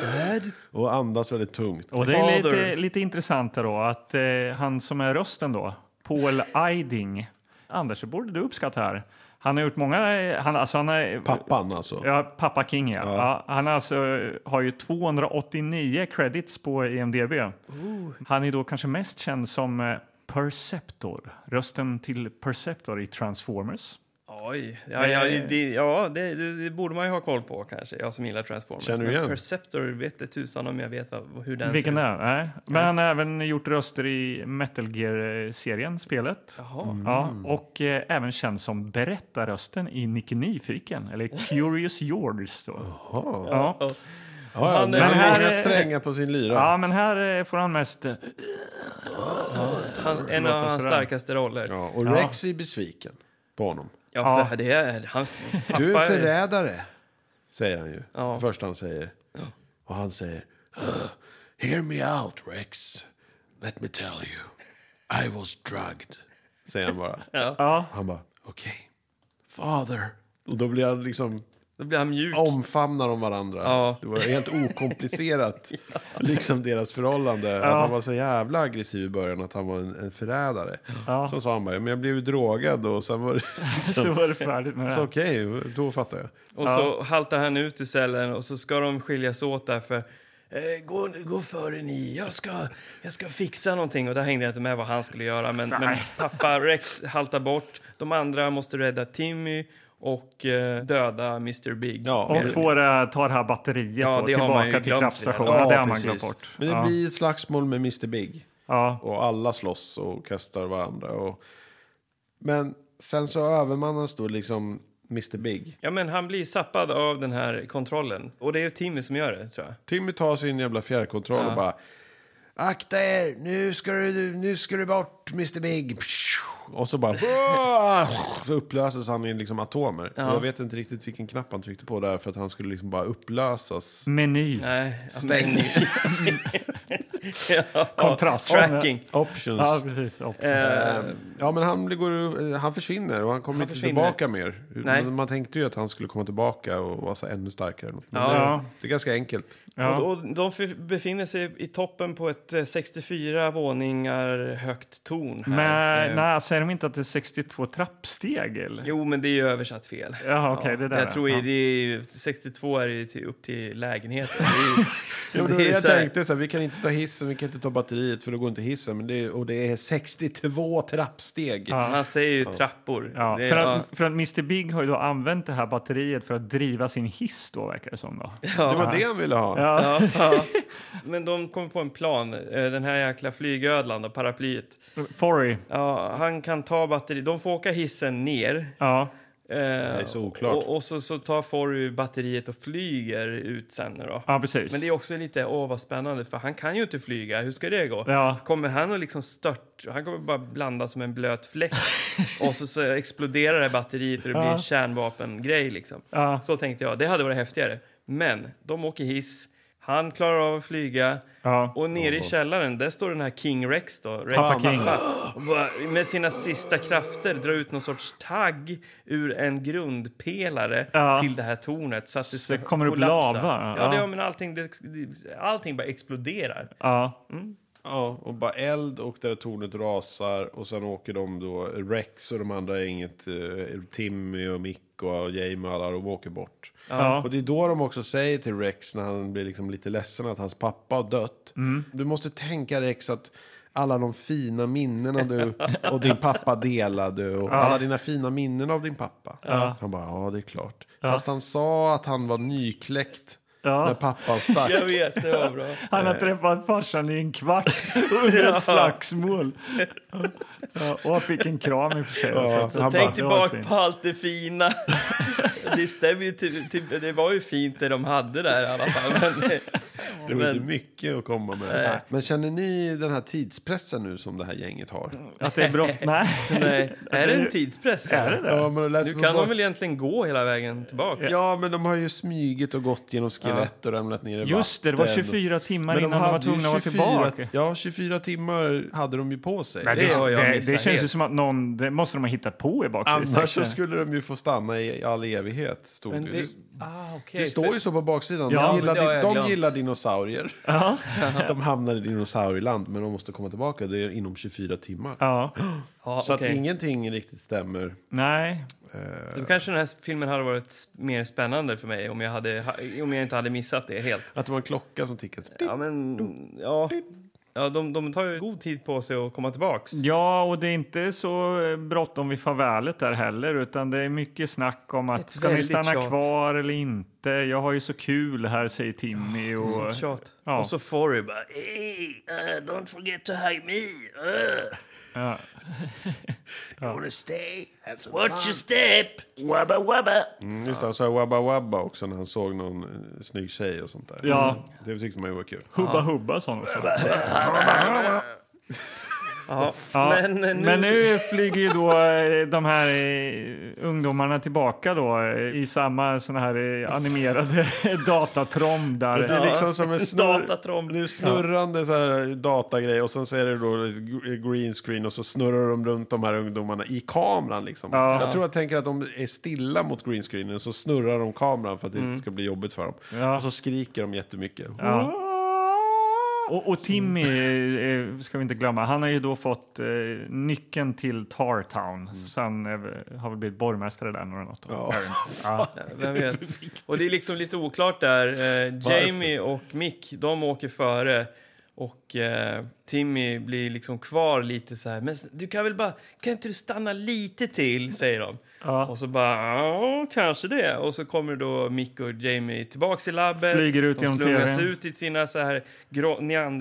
Speaker 3: Dad? Och andas väldigt tungt.
Speaker 2: Och det är
Speaker 1: Father.
Speaker 2: lite, lite intressant då att eh, han som är rösten då, Paul Eiding. Anders, det borde du uppskatta här. Han har gjort många, eh, han, alltså han är,
Speaker 3: Pappan alltså.
Speaker 2: ja, pappa King ja. ja. Han alltså, eh, har ju 289 credits på E IMDB. Han är då kanske mest känd som eh, Perceptor, rösten till Perceptor i Transformers.
Speaker 1: Oj. Ja,
Speaker 3: Eh.
Speaker 1: ja, det, ja det, det, det borde man ju ha koll på kanske, jag som gillar Transformers.
Speaker 3: Känner du
Speaker 1: Men
Speaker 3: igen?
Speaker 1: Perceptor vet det tusan om jag vet vad, hur den
Speaker 2: Vilken
Speaker 1: ser
Speaker 2: det
Speaker 1: ut.
Speaker 3: Alltså-
Speaker 2: är? Nej. Men han har även gjort röster i Metal Gear-serien, spelet.
Speaker 1: Jaha.
Speaker 3: Mm.
Speaker 2: Ja, och eh, även känd som berättarrösten i Nick Nyfiken, eller Curious George. Då. Ja.
Speaker 3: Ja, ja,
Speaker 1: Han-
Speaker 3: men
Speaker 1: men
Speaker 3: han
Speaker 2: här
Speaker 3: här
Speaker 2: är-
Speaker 3: strängar på sin lyra.
Speaker 2: ja, men här eh, får han mest... eh,
Speaker 1: Han, en av
Speaker 2: Låter
Speaker 1: hans
Speaker 2: sådär.
Speaker 1: starkaste roller. Ja,
Speaker 3: Ja, och Rex är besviken på honom.
Speaker 1: ja för det är hans pappa.
Speaker 3: Du är förrädare, säger han ju.
Speaker 1: Ja.
Speaker 3: Det första han säger. Och han säger, "Ugh, hear me out Rex. Let me tell you, I was drugged. Säger han bara.
Speaker 2: Ja.
Speaker 3: Han bara, okej, father. Och då blir han liksom,
Speaker 1: Då blir han mjuk.
Speaker 3: omfamnar de varandra.
Speaker 1: Ja.
Speaker 3: Det var helt okomplicerat, liksom deras förhållande. Att han var så jävla aggressiv i början, att han var en, en förrädare.
Speaker 2: Ja.
Speaker 3: Sen sa han bara, men jag blev ju drogad och sen var det
Speaker 2: Så var det färdigt med det.
Speaker 3: så
Speaker 2: här.
Speaker 3: okej, då fattar jag.
Speaker 1: Och så haltar han ut ur cellen och så ska de skiljas åt därför. Eh, gå, gå före ni, jag ska, jag ska fixa någonting. Och där hängde jag inte med vad han skulle göra. Men, men pappa Rex haltar bort. De andra måste rädda Timmy och eh, döda Mr Big.
Speaker 3: Ja,
Speaker 1: Mer-
Speaker 2: Och får, eh, tar det här batteriet
Speaker 1: Ja,
Speaker 2: då,
Speaker 1: det har man ju
Speaker 2: tillbaka till
Speaker 1: glömt
Speaker 2: kraftstationen.
Speaker 1: redan.
Speaker 2: Ja, det har man
Speaker 3: precis.
Speaker 2: glömt bort.
Speaker 3: Men det
Speaker 2: ja.
Speaker 3: blir ett slagsmål med Mr Big.
Speaker 2: ja.
Speaker 3: Och alla slåss och kastar varandra. Och... Men sen så övermannas då liksom Mr Big.
Speaker 1: ja, men han blir sappad av den här kontrollen. Och det är Timmy som gör det, tror jag.
Speaker 3: Timmy tar sin jävla fjärrkontroll och bara... Akta er, nu ska du, nu ska du bort Mr Big. Och så bara... Så upplöses han i liksom atomer. Och Jag vet inte riktigt vilken knapp han tryckte på där för att han skulle liksom bara upplösas.
Speaker 2: Meny.
Speaker 1: Nej, ja,
Speaker 3: Stäng.
Speaker 1: ja,
Speaker 2: Kontrast.
Speaker 1: Tracking.
Speaker 3: Options.
Speaker 2: Ja, precis. Och-
Speaker 1: Eh,
Speaker 3: Ja, men han, blir- går, eh, han försvinner och han kommer
Speaker 1: Han
Speaker 3: inte
Speaker 1: försvinner.
Speaker 3: tillbaka mer.
Speaker 1: Nej.
Speaker 3: Man tänkte ju att han skulle komma tillbaka och vara så ännu starkare. Men
Speaker 1: Ja.
Speaker 2: Ja.
Speaker 3: Det är ganska enkelt.
Speaker 2: Ja.
Speaker 1: Och, och de för- befinner sig i toppen på ett eh, 64 våningar högt torn. Här.
Speaker 2: Men
Speaker 1: Eh,
Speaker 2: nej, säger de inte att det är 62 trappsteg? Eller?
Speaker 1: Jo, men det är ju översatt fel.
Speaker 2: Jaha, okej, det där,
Speaker 1: jag tror
Speaker 2: ja.
Speaker 1: ju det är, ju- 62 är det ju till, upp till lägenheten. Det är, ju-
Speaker 3: Ja, men
Speaker 1: det
Speaker 3: då-
Speaker 1: är
Speaker 3: jag
Speaker 1: så här-
Speaker 3: tänkte så här, vi kan inte ta hissen, vi kan inte ta batteriet för då går inte hissen. Men det är, och det är 62 trappsteg.
Speaker 1: Han säger ju trappor.
Speaker 2: Ja,
Speaker 1: det,
Speaker 2: för,
Speaker 1: ja.
Speaker 2: att, för att Mr Big har ju då använt det här batteriet för att driva sin hiss då, verkar det som. Då.
Speaker 3: Det var det han ville ha.
Speaker 1: Ja, ja. Men de kommer på en plan, eh, den här jäkla flygödlan och paraplyet.
Speaker 2: Forry.
Speaker 1: Ja, han kan ta batteri. De får åka hissen ner
Speaker 2: Ja.
Speaker 1: Eh,
Speaker 3: är så oklart.
Speaker 1: Och, och så, så tar Forry batteriet och flyger ut sen nu då.
Speaker 2: Ja, precis.
Speaker 1: Men det är också lite, åh vad spännande, för han kan ju inte flyga. Hur ska det gå?
Speaker 2: Ja.
Speaker 1: Kommer han att liksom stört... Han kommer bara blanda som en blöt fläck. och så, så exploderar det här batteriet och det blir en kärnvapengrej liksom.
Speaker 2: Ja.
Speaker 1: Så tänkte jag, det hade varit häftigare. Men de åker hiss, han klarar av att flyga.
Speaker 2: Ja.
Speaker 1: Och nere i källaren, där står den här King Rex då. Rex
Speaker 2: Pappa King.
Speaker 1: och bara med sina sista krafter dra ut någon sorts tagg ur en grundpelare
Speaker 2: Ja.
Speaker 1: till det här tornet så att det, ska
Speaker 2: det kommer upp
Speaker 1: kollapsa.
Speaker 2: lava,
Speaker 1: Ja, det,
Speaker 2: ja.
Speaker 1: ja, men allting, det, det- allting bara exploderar.
Speaker 2: Ja.
Speaker 3: Ja, och bara eld och där tornet rasar och sen åker de då, Rex och de andra inget, eh, Timmy och Mick och Jamie och alla, de åker bort.
Speaker 2: Ja.
Speaker 3: Och det är då de också säger till Rex när han blir liksom lite ledsen att hans pappa har dött. Du måste tänka Rex att alla de fina minnena du och din pappa delade och alla dina fina minnen av din pappa. Han bara, ja det är klart. Fast han sa att han var nykläckt
Speaker 2: Ja.
Speaker 3: när pappan stack.
Speaker 1: Jag vet, det var bra.
Speaker 2: Han har träffat farsan i en kvart under ett slagsmål. Ja, och han fick en kram i och för sig. Alltså,
Speaker 3: Ja, så han
Speaker 1: Tänk
Speaker 3: bara,
Speaker 2: var
Speaker 1: tillbaka
Speaker 2: fint.
Speaker 1: på allt det fina. det, stämmer ju till, till, det var ju fint det de hade där i alla fall. Men,
Speaker 3: Det var inte mycket att komma med. Men känner ni den här tidspressen nu som det här gänget har?
Speaker 2: Att det är brott? Nej.
Speaker 1: nej, är det en tidspress? Är
Speaker 3: Ja, men då läser
Speaker 1: Nu
Speaker 3: man
Speaker 1: kan
Speaker 3: bara-
Speaker 1: de väl egentligen gå hela vägen tillbaka?
Speaker 3: Ja, men de har ju smugit och gått genom skelett och ramlat ner i
Speaker 2: Just det, det var
Speaker 3: vatten.
Speaker 2: 24 timmar
Speaker 3: Men
Speaker 2: innan de var
Speaker 3: hade ju
Speaker 2: tvungna att vara tillbaka.
Speaker 3: Ja, 24 timmar hade de ju på sig.
Speaker 2: Men
Speaker 1: det har jag
Speaker 2: det,
Speaker 1: missat
Speaker 2: det känns ju
Speaker 1: helt.
Speaker 2: som att någon, det måste de ha hittat på i baksidan.
Speaker 3: Annars så skulle de ju få stanna i all evighet, stod
Speaker 1: Men
Speaker 3: det.
Speaker 1: det,
Speaker 3: Det-
Speaker 1: ah, okay,
Speaker 3: Det står ju så på baksidan.
Speaker 2: Ja,
Speaker 3: de
Speaker 1: men
Speaker 3: gillar,
Speaker 1: det har jag
Speaker 3: di- de
Speaker 1: glömt.
Speaker 3: gillar dinosaurier. de hamnar i dinosaurieland, men de måste komma tillbaka. Det är inom 24 timmar.
Speaker 2: Ja.
Speaker 1: ja,
Speaker 3: Så
Speaker 1: okej.
Speaker 3: att ingenting riktigt stämmer.
Speaker 2: Nej.
Speaker 1: Då kanske den här filmen hade varit s- mer spännande för mig om jag, hade, ha- om jag inte hade missat det helt.
Speaker 3: Att det var en klocka som tickade.
Speaker 1: Ja, men... Ja. Ja, de, de tar ju god tid på sig att komma tillbaks.
Speaker 2: Ja, och det är inte så eh, bråttom vid farvälet där heller, utan det är mycket snack om att
Speaker 1: Ett
Speaker 2: ska ni
Speaker 1: väldigt
Speaker 2: stanna
Speaker 1: tjat.
Speaker 2: kvar eller inte? Jag har ju så kul här, säger Timmy. Och,
Speaker 1: Sånt tjat.
Speaker 2: Ja.
Speaker 1: Och så Forry bara... Hey, uh, don't forget to hug me. Uh.
Speaker 3: You wanna stay? Have some
Speaker 1: Watch your step!
Speaker 3: Mm, Just det, han sa wabba wabba också när han såg någon eh, snygg tjej och sånt där. Mm.
Speaker 2: Ja.
Speaker 3: Det tyckte man ju var kul.
Speaker 2: Hubba hubba sa han också.
Speaker 1: Ja.
Speaker 2: Ja,
Speaker 1: Men, eh, nu,
Speaker 2: Men nu flyger ju då eh, de här eh, ungdomarna tillbaka då eh, i samma såna här eh, animerade datatrom där.
Speaker 3: Det är liksom som en
Speaker 1: Datatrom.
Speaker 3: snurr, det är snurrande så här datagrej och sen så är det då ett gr- green screen och så snurrar de runt de här ungdomarna i kameran liksom.
Speaker 2: Ja.
Speaker 3: Jag tror jag tänker att de är stilla mot green screenen så snurrar de kameran för att det inte ska bli jobbigt för dem.
Speaker 2: Mm. Ja.
Speaker 3: Och så skriker de jättemycket.
Speaker 2: Ja. Och, och Timmy eh, ska vi inte glömma. Han har ju då fått eh, nyckeln till Tartown.
Speaker 1: Mm.
Speaker 2: Så han eh, har väl blivit borgmästare där eller något. Ja.
Speaker 1: Vem vet? Och det är liksom lite oklart där. Eh, Jamie och Mick, de åker före. Och eh, Timmy blir liksom kvar lite så här. Men s- du kan väl bara, kan inte du stanna lite till, säger de. Och så bara, ja, kanske det. Och så kommer då Mick och Jamie tillbaks i labbet.
Speaker 2: Flyger ut
Speaker 1: de
Speaker 2: genom
Speaker 1: slungas
Speaker 2: TV:n.
Speaker 1: ut i sina så här grå,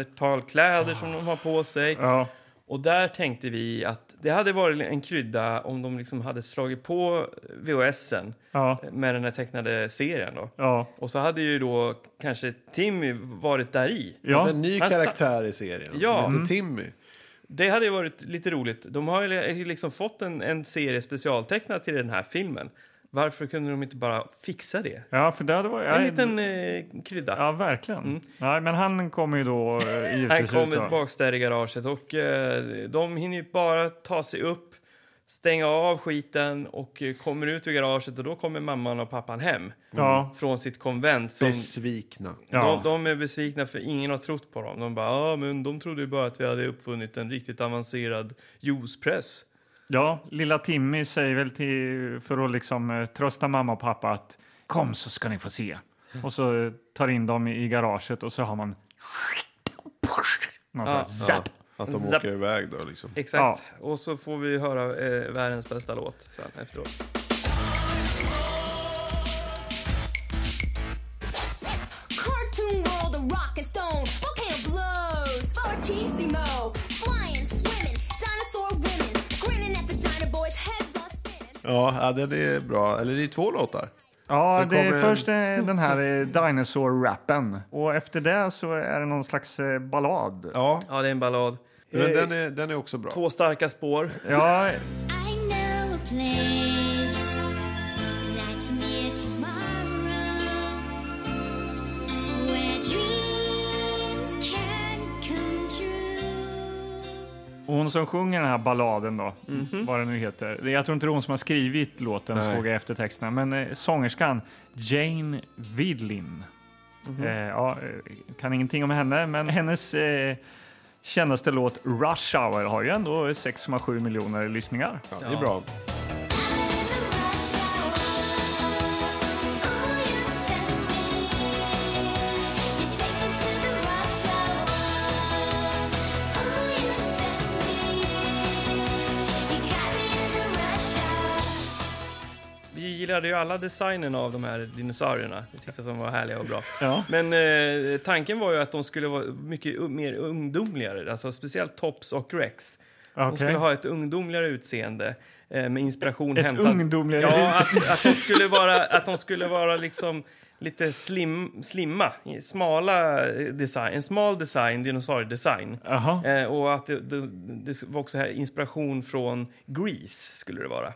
Speaker 1: neandertalkläder som de har på sig.
Speaker 2: Ja.
Speaker 1: Och där tänkte vi att det hade varit en krydda om de liksom hade slagit på VHSen
Speaker 2: Ja.
Speaker 1: med den här tecknade serien då.
Speaker 2: Ja.
Speaker 1: Och så hade ju då kanske Timmy varit där i.
Speaker 3: Det
Speaker 2: Ja. Mm.
Speaker 3: är en ny
Speaker 1: Han sta-
Speaker 3: karaktär i serien.
Speaker 1: Ja.
Speaker 3: Lite Timmy.
Speaker 1: Det hade ju varit lite roligt. De har ju liksom fått en, en serie specialtecknad till den här filmen. Varför kunde de inte bara fixa det?
Speaker 2: ja, för där var
Speaker 1: En
Speaker 2: jag...
Speaker 1: liten eh, krydda.
Speaker 2: Ja, verkligen. Nej, men han kommer ju då eh, givetvis
Speaker 1: Han kommer
Speaker 2: ut då.
Speaker 1: tillbaks där i garaget och eh, de hinner ju bara ta sig upp, stänga av skiten och eh, kommer ut ur garaget och då kommer mamman och pappan hem
Speaker 2: Ja.
Speaker 1: från sitt konvent. Som
Speaker 3: Besvikna.
Speaker 2: Ja.
Speaker 1: de, de är besvikna för ingen har trott på dem. De bara, ah, men de trodde ju bara att vi hade uppfunnit en riktigt avancerad juicepress.
Speaker 2: Ja, lilla Timmy säger väl till, för att liksom eh, trösta mamma och pappa att kom så ska ni få se. Och så eh, tar in dem i i garaget och så har man någon sån här zapp.
Speaker 3: Att de
Speaker 1: Zapp.
Speaker 3: åker iväg då liksom.
Speaker 1: Exakt. Och så får vi höra eh, världens bästa låt sen efteråt.
Speaker 9: Cartoon world of rock and stone, volcano blows, fortissimo, flying, swimming, dinosaur women, grinning at the dino boys' heads are spinning.
Speaker 3: Ja, ja, den är bra. Eller det är två låtar.
Speaker 2: Ja,
Speaker 3: Sen
Speaker 2: det är
Speaker 3: kommer-
Speaker 2: först eh, den här eh, Dinosaur-rappen. Och efter det så är det någon slags eh, ballad.
Speaker 3: Ja,
Speaker 1: Ja, det är en ballad.
Speaker 3: men
Speaker 1: Eh,
Speaker 3: den är, den är också bra.
Speaker 1: Två starka spår.
Speaker 2: Ja,
Speaker 9: I know a place that's near tomorrow where dreams can come true.
Speaker 2: och hon som sjunger den här balladen då, vad den nu heter. Det- Jag tror inte det är hon som har skrivit låten,
Speaker 3: Nej.
Speaker 2: såg jag efter texterna. Men eh, sångerskan Jane Vidlin. Eh, ja, eh, kan ingenting om henne, men hennes eh, kändaste låt Rush Hour har ju ändå 6,7 miljoner lyssningar.
Speaker 3: Ja, det är bra.
Speaker 9: Oh,
Speaker 1: Vi gillade ju alla designen av de här dinosaurierna. Vi tyckte att de var härliga och bra.
Speaker 2: Ja.
Speaker 1: Men eh, tanken var ju att de skulle vara mycket u- mer ungdomligare, alltså speciellt Tops och Rex. De
Speaker 2: Okej.
Speaker 1: skulle ha ett ungdomligare utseende eh, med inspiration ett hämtad...
Speaker 2: ungdomligare
Speaker 1: ja, att, att de skulle vara, att de skulle vara liksom lite slim, slimma, smala eh, design, en smal design, dinosauriedesign.
Speaker 2: Jaha.
Speaker 1: Eh, och att det, det, det var också här inspiration från Grease, skulle det vara.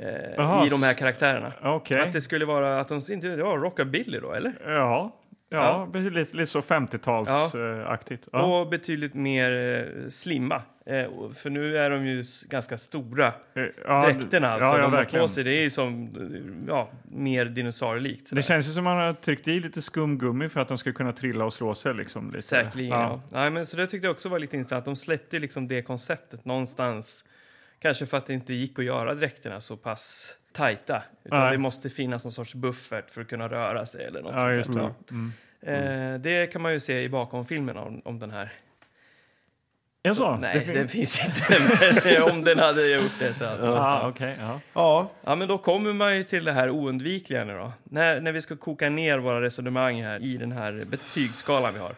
Speaker 1: Eh,
Speaker 2: Jaha,
Speaker 1: I de här karaktärerna.
Speaker 2: okej.
Speaker 1: Att det skulle vara att de inte, ja, rockabilly då, eller?
Speaker 2: Ja, ja,
Speaker 1: Ja.
Speaker 2: precis, Lite, lite så 50-talsaktigt. Ja.
Speaker 1: Och betydligt mer eh, slimma. Eh, och- för nu är de ju s- ganska stora,
Speaker 2: Eh, ja,
Speaker 1: dräkterna alltså.
Speaker 2: ja, ja,
Speaker 1: de har
Speaker 2: verkligen.
Speaker 1: på sig, det är ju som, ja, mer dinosaurielikt.
Speaker 2: Det
Speaker 1: sådär.
Speaker 2: känns ju som man har tryckt i lite skumgummi för att de ska kunna trilla och slå sig. Liksom, lite.
Speaker 1: Säkerligen,
Speaker 2: Ja.
Speaker 1: ja. Nej, men, så det tyckte jag också var lite intressant. De släppte liksom det konceptet någonstans. Kanske för att det inte gick att göra dräkterna så pass tajta. Utan
Speaker 2: Nej.
Speaker 1: det måste finnas någon sorts buffert för att kunna röra sig eller något
Speaker 2: Ja,
Speaker 1: sånt
Speaker 2: just
Speaker 1: där. typ.
Speaker 2: det. Mm.
Speaker 1: Eh, det kan man ju se i bakomfilmen om, om den här.
Speaker 2: Är så?
Speaker 1: Nej,
Speaker 2: Det
Speaker 1: det
Speaker 2: fin-
Speaker 1: finns, inte. Men om den hade gjort det så. Att,
Speaker 2: Ah, okej, ja.
Speaker 3: Ja,
Speaker 1: Ja, men då kommer man ju till det här oundvikliga nu då. När, när vi ska koka ner våra resonemang här i den här betygsskalan vi har.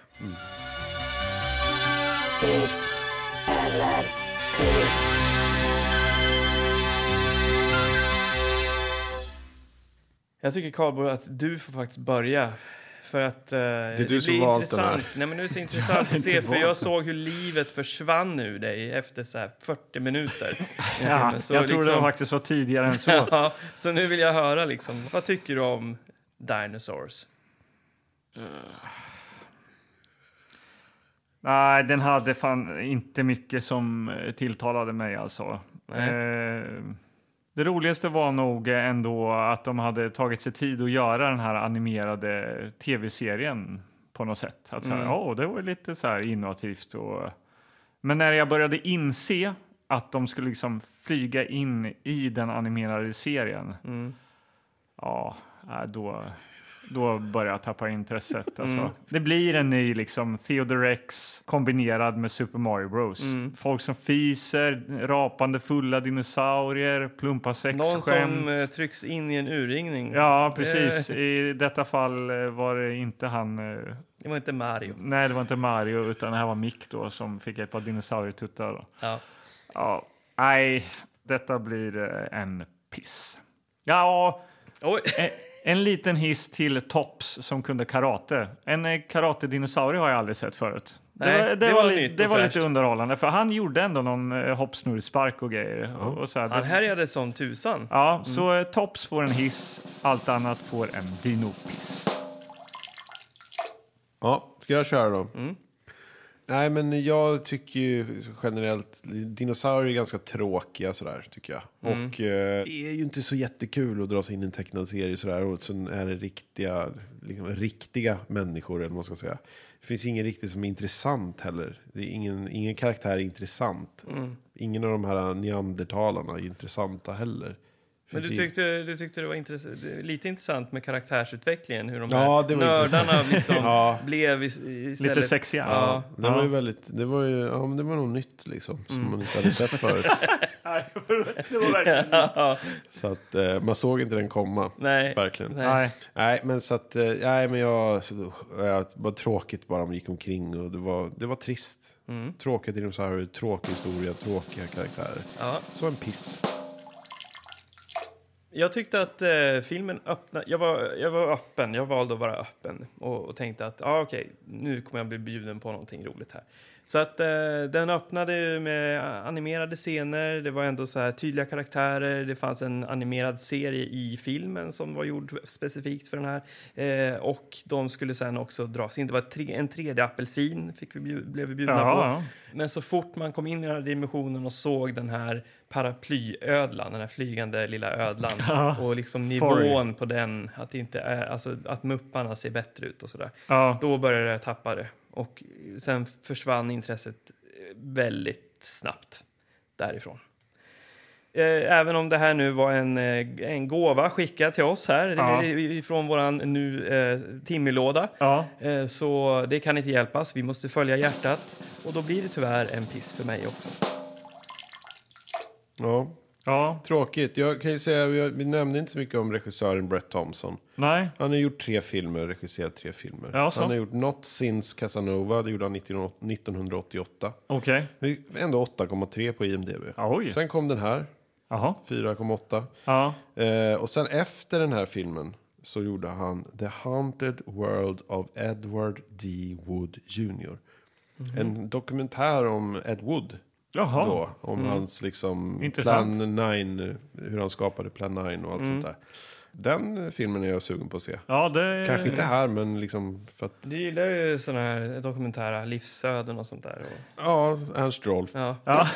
Speaker 1: Jag tycker Karlborg att du får faktiskt börja. För att eh, det är
Speaker 3: du som valt den här.
Speaker 1: Nej, men det är så intressant att se, för jag såg hur livet försvann ur dig efter så här 40 minuter.
Speaker 2: Ja,
Speaker 1: Men så
Speaker 2: jag tror det
Speaker 1: liksom-
Speaker 2: faktiskt var tidigare än så.
Speaker 1: Ja, så nu vill jag höra liksom, vad tycker du om Dinosaurs?
Speaker 2: Nej, den hade fan inte mycket som eh, tilltalade mig alltså.
Speaker 1: Nej.
Speaker 2: Eh, det roligaste var nog eh, ändå att de hade tagit sig tid att göra den här animerade tv-serien på något sätt. Att så här, "Åh, det var lite så här innovativt. Och... Men när jag började inse att de skulle liksom flyga in i den animerade serien.
Speaker 1: Mm.
Speaker 2: Ja, nej, då, då börjar jag tappa intresset. Alltså.
Speaker 1: Mm.
Speaker 2: Det blir en ny liksom, Theodore Rex kombinerad med Super Mario Bros.
Speaker 1: Mm.
Speaker 2: Folk som fiser, rapande fulla dinosaurier, plumpa
Speaker 1: Någon
Speaker 2: sexskämt.
Speaker 1: som eh, trycks in i en urringning. Eh,
Speaker 2: Ja, precis. I detta fall eh, var det inte han... eh,
Speaker 1: Det var inte Mario.
Speaker 2: Nej, det var inte Mario, utan det här var Mick då som fick ett par dinosaurietuttar. Då.
Speaker 1: Ja.
Speaker 2: Ja, nej, detta blir eh, en piss. Ja,
Speaker 1: Oj.
Speaker 2: en, en liten hiss till Tops som kunde karate. En eh, karatedinosaurie har jag aldrig sett förut.
Speaker 1: Nej,
Speaker 2: det,
Speaker 1: det var
Speaker 2: li-
Speaker 1: nytt och
Speaker 2: det var lite
Speaker 1: fräscht.
Speaker 2: underhållande, för han gjorde ändå någon eh, hoppsnurrspark och grejer. Och, och så här.
Speaker 1: Han härjade som tusan.
Speaker 2: Ja, så eh, Tops får en hiss, allt annat får en dinopiss.
Speaker 3: Ja, ska jag köra då?
Speaker 1: Mm.
Speaker 3: Nej, men jag tycker ju generellt dinosaurier är ganska tråkiga sådär, tycker jag.
Speaker 1: Mm.
Speaker 3: Och eh, det är ju inte så jättekul att dra sig in i en tecknad serie sådär. Och sen är det riktiga, liksom, riktiga människor, eller vad man ska säga. Det finns ingen riktigt som är intressant heller. Det är ingen, ingen karaktär är intressant.
Speaker 1: Mm.
Speaker 3: Ingen av de här neandertalarna är intressanta heller. Det
Speaker 1: Men
Speaker 3: finns
Speaker 1: du
Speaker 3: ingen-
Speaker 1: tyckte, du tyckte det var intress- lite intressant med karaktärsutvecklingen, hur de
Speaker 3: Ja,
Speaker 1: här
Speaker 3: det var
Speaker 1: nördarna liksom
Speaker 3: Ja.
Speaker 1: blev i, istället...
Speaker 2: Lite sexigare.
Speaker 1: Ja. Mm.
Speaker 3: Det var ju väldigt, det var ju, ja men det var nog nytt liksom, som man inte hade sett förut.
Speaker 2: Det var verkligen...
Speaker 3: Så att eh, man såg inte den komma.
Speaker 1: Nej.
Speaker 3: Verkligen.
Speaker 1: Nej.
Speaker 2: Nej.
Speaker 3: Nej, men så att, eh, nej men jag, jag var tråkigt bara man gick omkring och det var, det var trist.
Speaker 2: Mm.
Speaker 3: Tråkiga dinosaurier, tråkig historia, tråkiga karaktärer.
Speaker 1: Ja.
Speaker 3: Så en piss.
Speaker 1: Jag tyckte att eh, filmen öppnade... Jag var, jag var öppen. Jag valde att vara öppen och, och tänkte att ah, okej, nu kommer jag bli bjuden på någonting roligt här. Så att eh, den öppnade ju med animerade scener. Det var ändå så här tydliga karaktärer. Det fanns en animerad serie i filmen som var gjord specifikt för den här. Eh, och de skulle sen också dras in. Det var tre, en 3D-apelsin fick vi bju- blev vi bjudna
Speaker 2: Jaha,
Speaker 1: på.
Speaker 2: ja.
Speaker 1: Men så fort man kom in i den här dimensionen och såg den här paraplyödlan, den här flygande lilla ödlan
Speaker 2: Ja.
Speaker 1: och liksom
Speaker 2: Sorry.
Speaker 1: nivån på den, att, det inte är, alltså, att mupparna ser bättre ut och sådär.
Speaker 2: Ja.
Speaker 1: Då började jag tappa det och sen försvann intresset eh, väldigt snabbt därifrån. Eh, Även om det här nu var en, eh, en gåva skickad till oss här
Speaker 2: Ja.
Speaker 1: eh, från våran nu eh, Timmylåda.
Speaker 2: Ja.
Speaker 1: Eh, Så det kan inte hjälpas. Vi måste följa hjärtat. Och då blir det tyvärr en piss för mig också.
Speaker 3: Ja,
Speaker 2: Ja.
Speaker 3: tråkigt. Jag kan ju säga, vi, vi nämnde inte så mycket om regissören Brett Thompson.
Speaker 2: Nej.
Speaker 3: Han har gjort tre filmer, regisserat tre filmer.
Speaker 2: Ja, så.
Speaker 3: Han har gjort Not Since Casanova, det gjorde han 19- 1988.
Speaker 2: Okej.
Speaker 3: Vi- Ändå 8,3 på IMDB.
Speaker 2: Oj.
Speaker 3: Sen kom den här,
Speaker 2: Jaha.
Speaker 3: 4,8.
Speaker 2: Ja.
Speaker 3: Eh, och sen efter den här filmen så gjorde han The Haunted World of Edward D. Wood Jr.
Speaker 2: Mhm.
Speaker 3: En dokumentär om Ed Wood.
Speaker 2: Jaha.
Speaker 3: Då, om hans liksom
Speaker 2: Mm. Intressant. Mm.
Speaker 3: Plan 9, eh, hur han skapade Plan 9 och allt sånt där. Den eh, filmen är jag sugen på att se.
Speaker 2: Ja, det...
Speaker 3: Kanske inte här, men liksom för att,
Speaker 1: Du gillar ju såna här dokumentära livsöden och sånt där. Och,
Speaker 3: ja, Ernst Rolf.
Speaker 1: ja.
Speaker 2: Ja,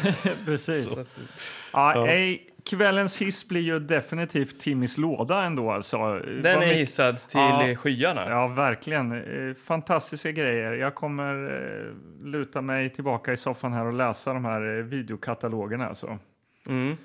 Speaker 2: precis.
Speaker 1: Så att,
Speaker 2: Ja, ej, Kvällens hiss blir ju definitivt Timmys låda ändå alltså.
Speaker 1: den är hissad till
Speaker 2: Ja.
Speaker 1: skyarna.
Speaker 2: Ja, verkligen. Eh, Fantastiska grejer. Jag kommer eh, luta mig tillbaka i soffan här och läsa de här eh, videokatalogerna alltså.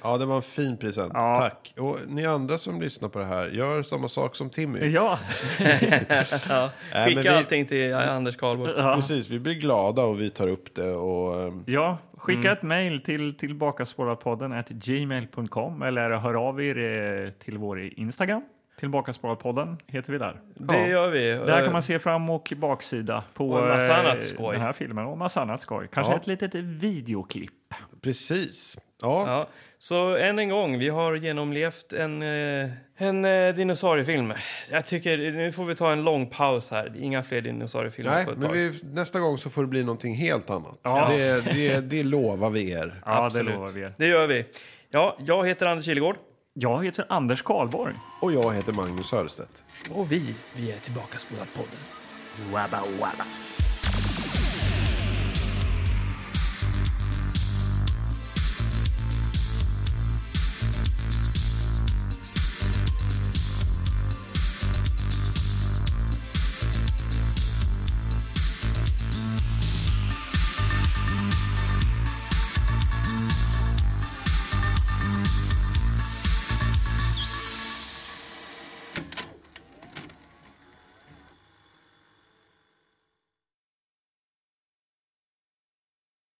Speaker 3: Ja, det var en fin present.
Speaker 2: Ja.
Speaker 3: Tack. Och ni andra som lyssnar på det här, gör samma sak som Timmy.
Speaker 2: Ja,
Speaker 3: Äh,
Speaker 1: Skicka
Speaker 3: men vi-
Speaker 1: allting till Anders Carlborg.
Speaker 2: Ja.
Speaker 3: Precis, vi blir glada och vi tar upp det. Och, eh,
Speaker 2: ja. skicka
Speaker 1: Mm.
Speaker 2: ett mejl till tillbakaspårarpodden gmail.com eller hör av er eh, till vår Instagram. Tillbakaspårarpodden heter vi där.
Speaker 1: Det gör vi.
Speaker 2: Där kan man se fram och baksida på
Speaker 1: Och en massa
Speaker 2: eh,
Speaker 1: annat skoj.
Speaker 2: den här filmen och massa annat skoj. Kanske
Speaker 3: Ja.
Speaker 2: ett litet videoklipp.
Speaker 3: precis. Ja,
Speaker 1: Ja. Så än en gång, vi har genomlevt en, eh, en eh, dinosauriefilm. Jag tycker, nu får vi ta en lång paus här. Inga fler dinosauriefilmer
Speaker 3: nej,
Speaker 1: på ett
Speaker 3: men
Speaker 1: tag.
Speaker 3: vi, nästa gång så får det bli någonting helt annat.
Speaker 2: Ja.
Speaker 3: Det, det, det lovar vi er.
Speaker 2: Ja,
Speaker 1: Absolut.
Speaker 2: det lovar vi er.
Speaker 1: Det gör vi. Ja, jag heter Anders Kilegård.
Speaker 2: Jag heter Anders Karlborg.
Speaker 3: Och jag heter Magnus Hörstedt.
Speaker 1: Och vi, vi är tillbaka spolat podden.
Speaker 6: Wabba wabba.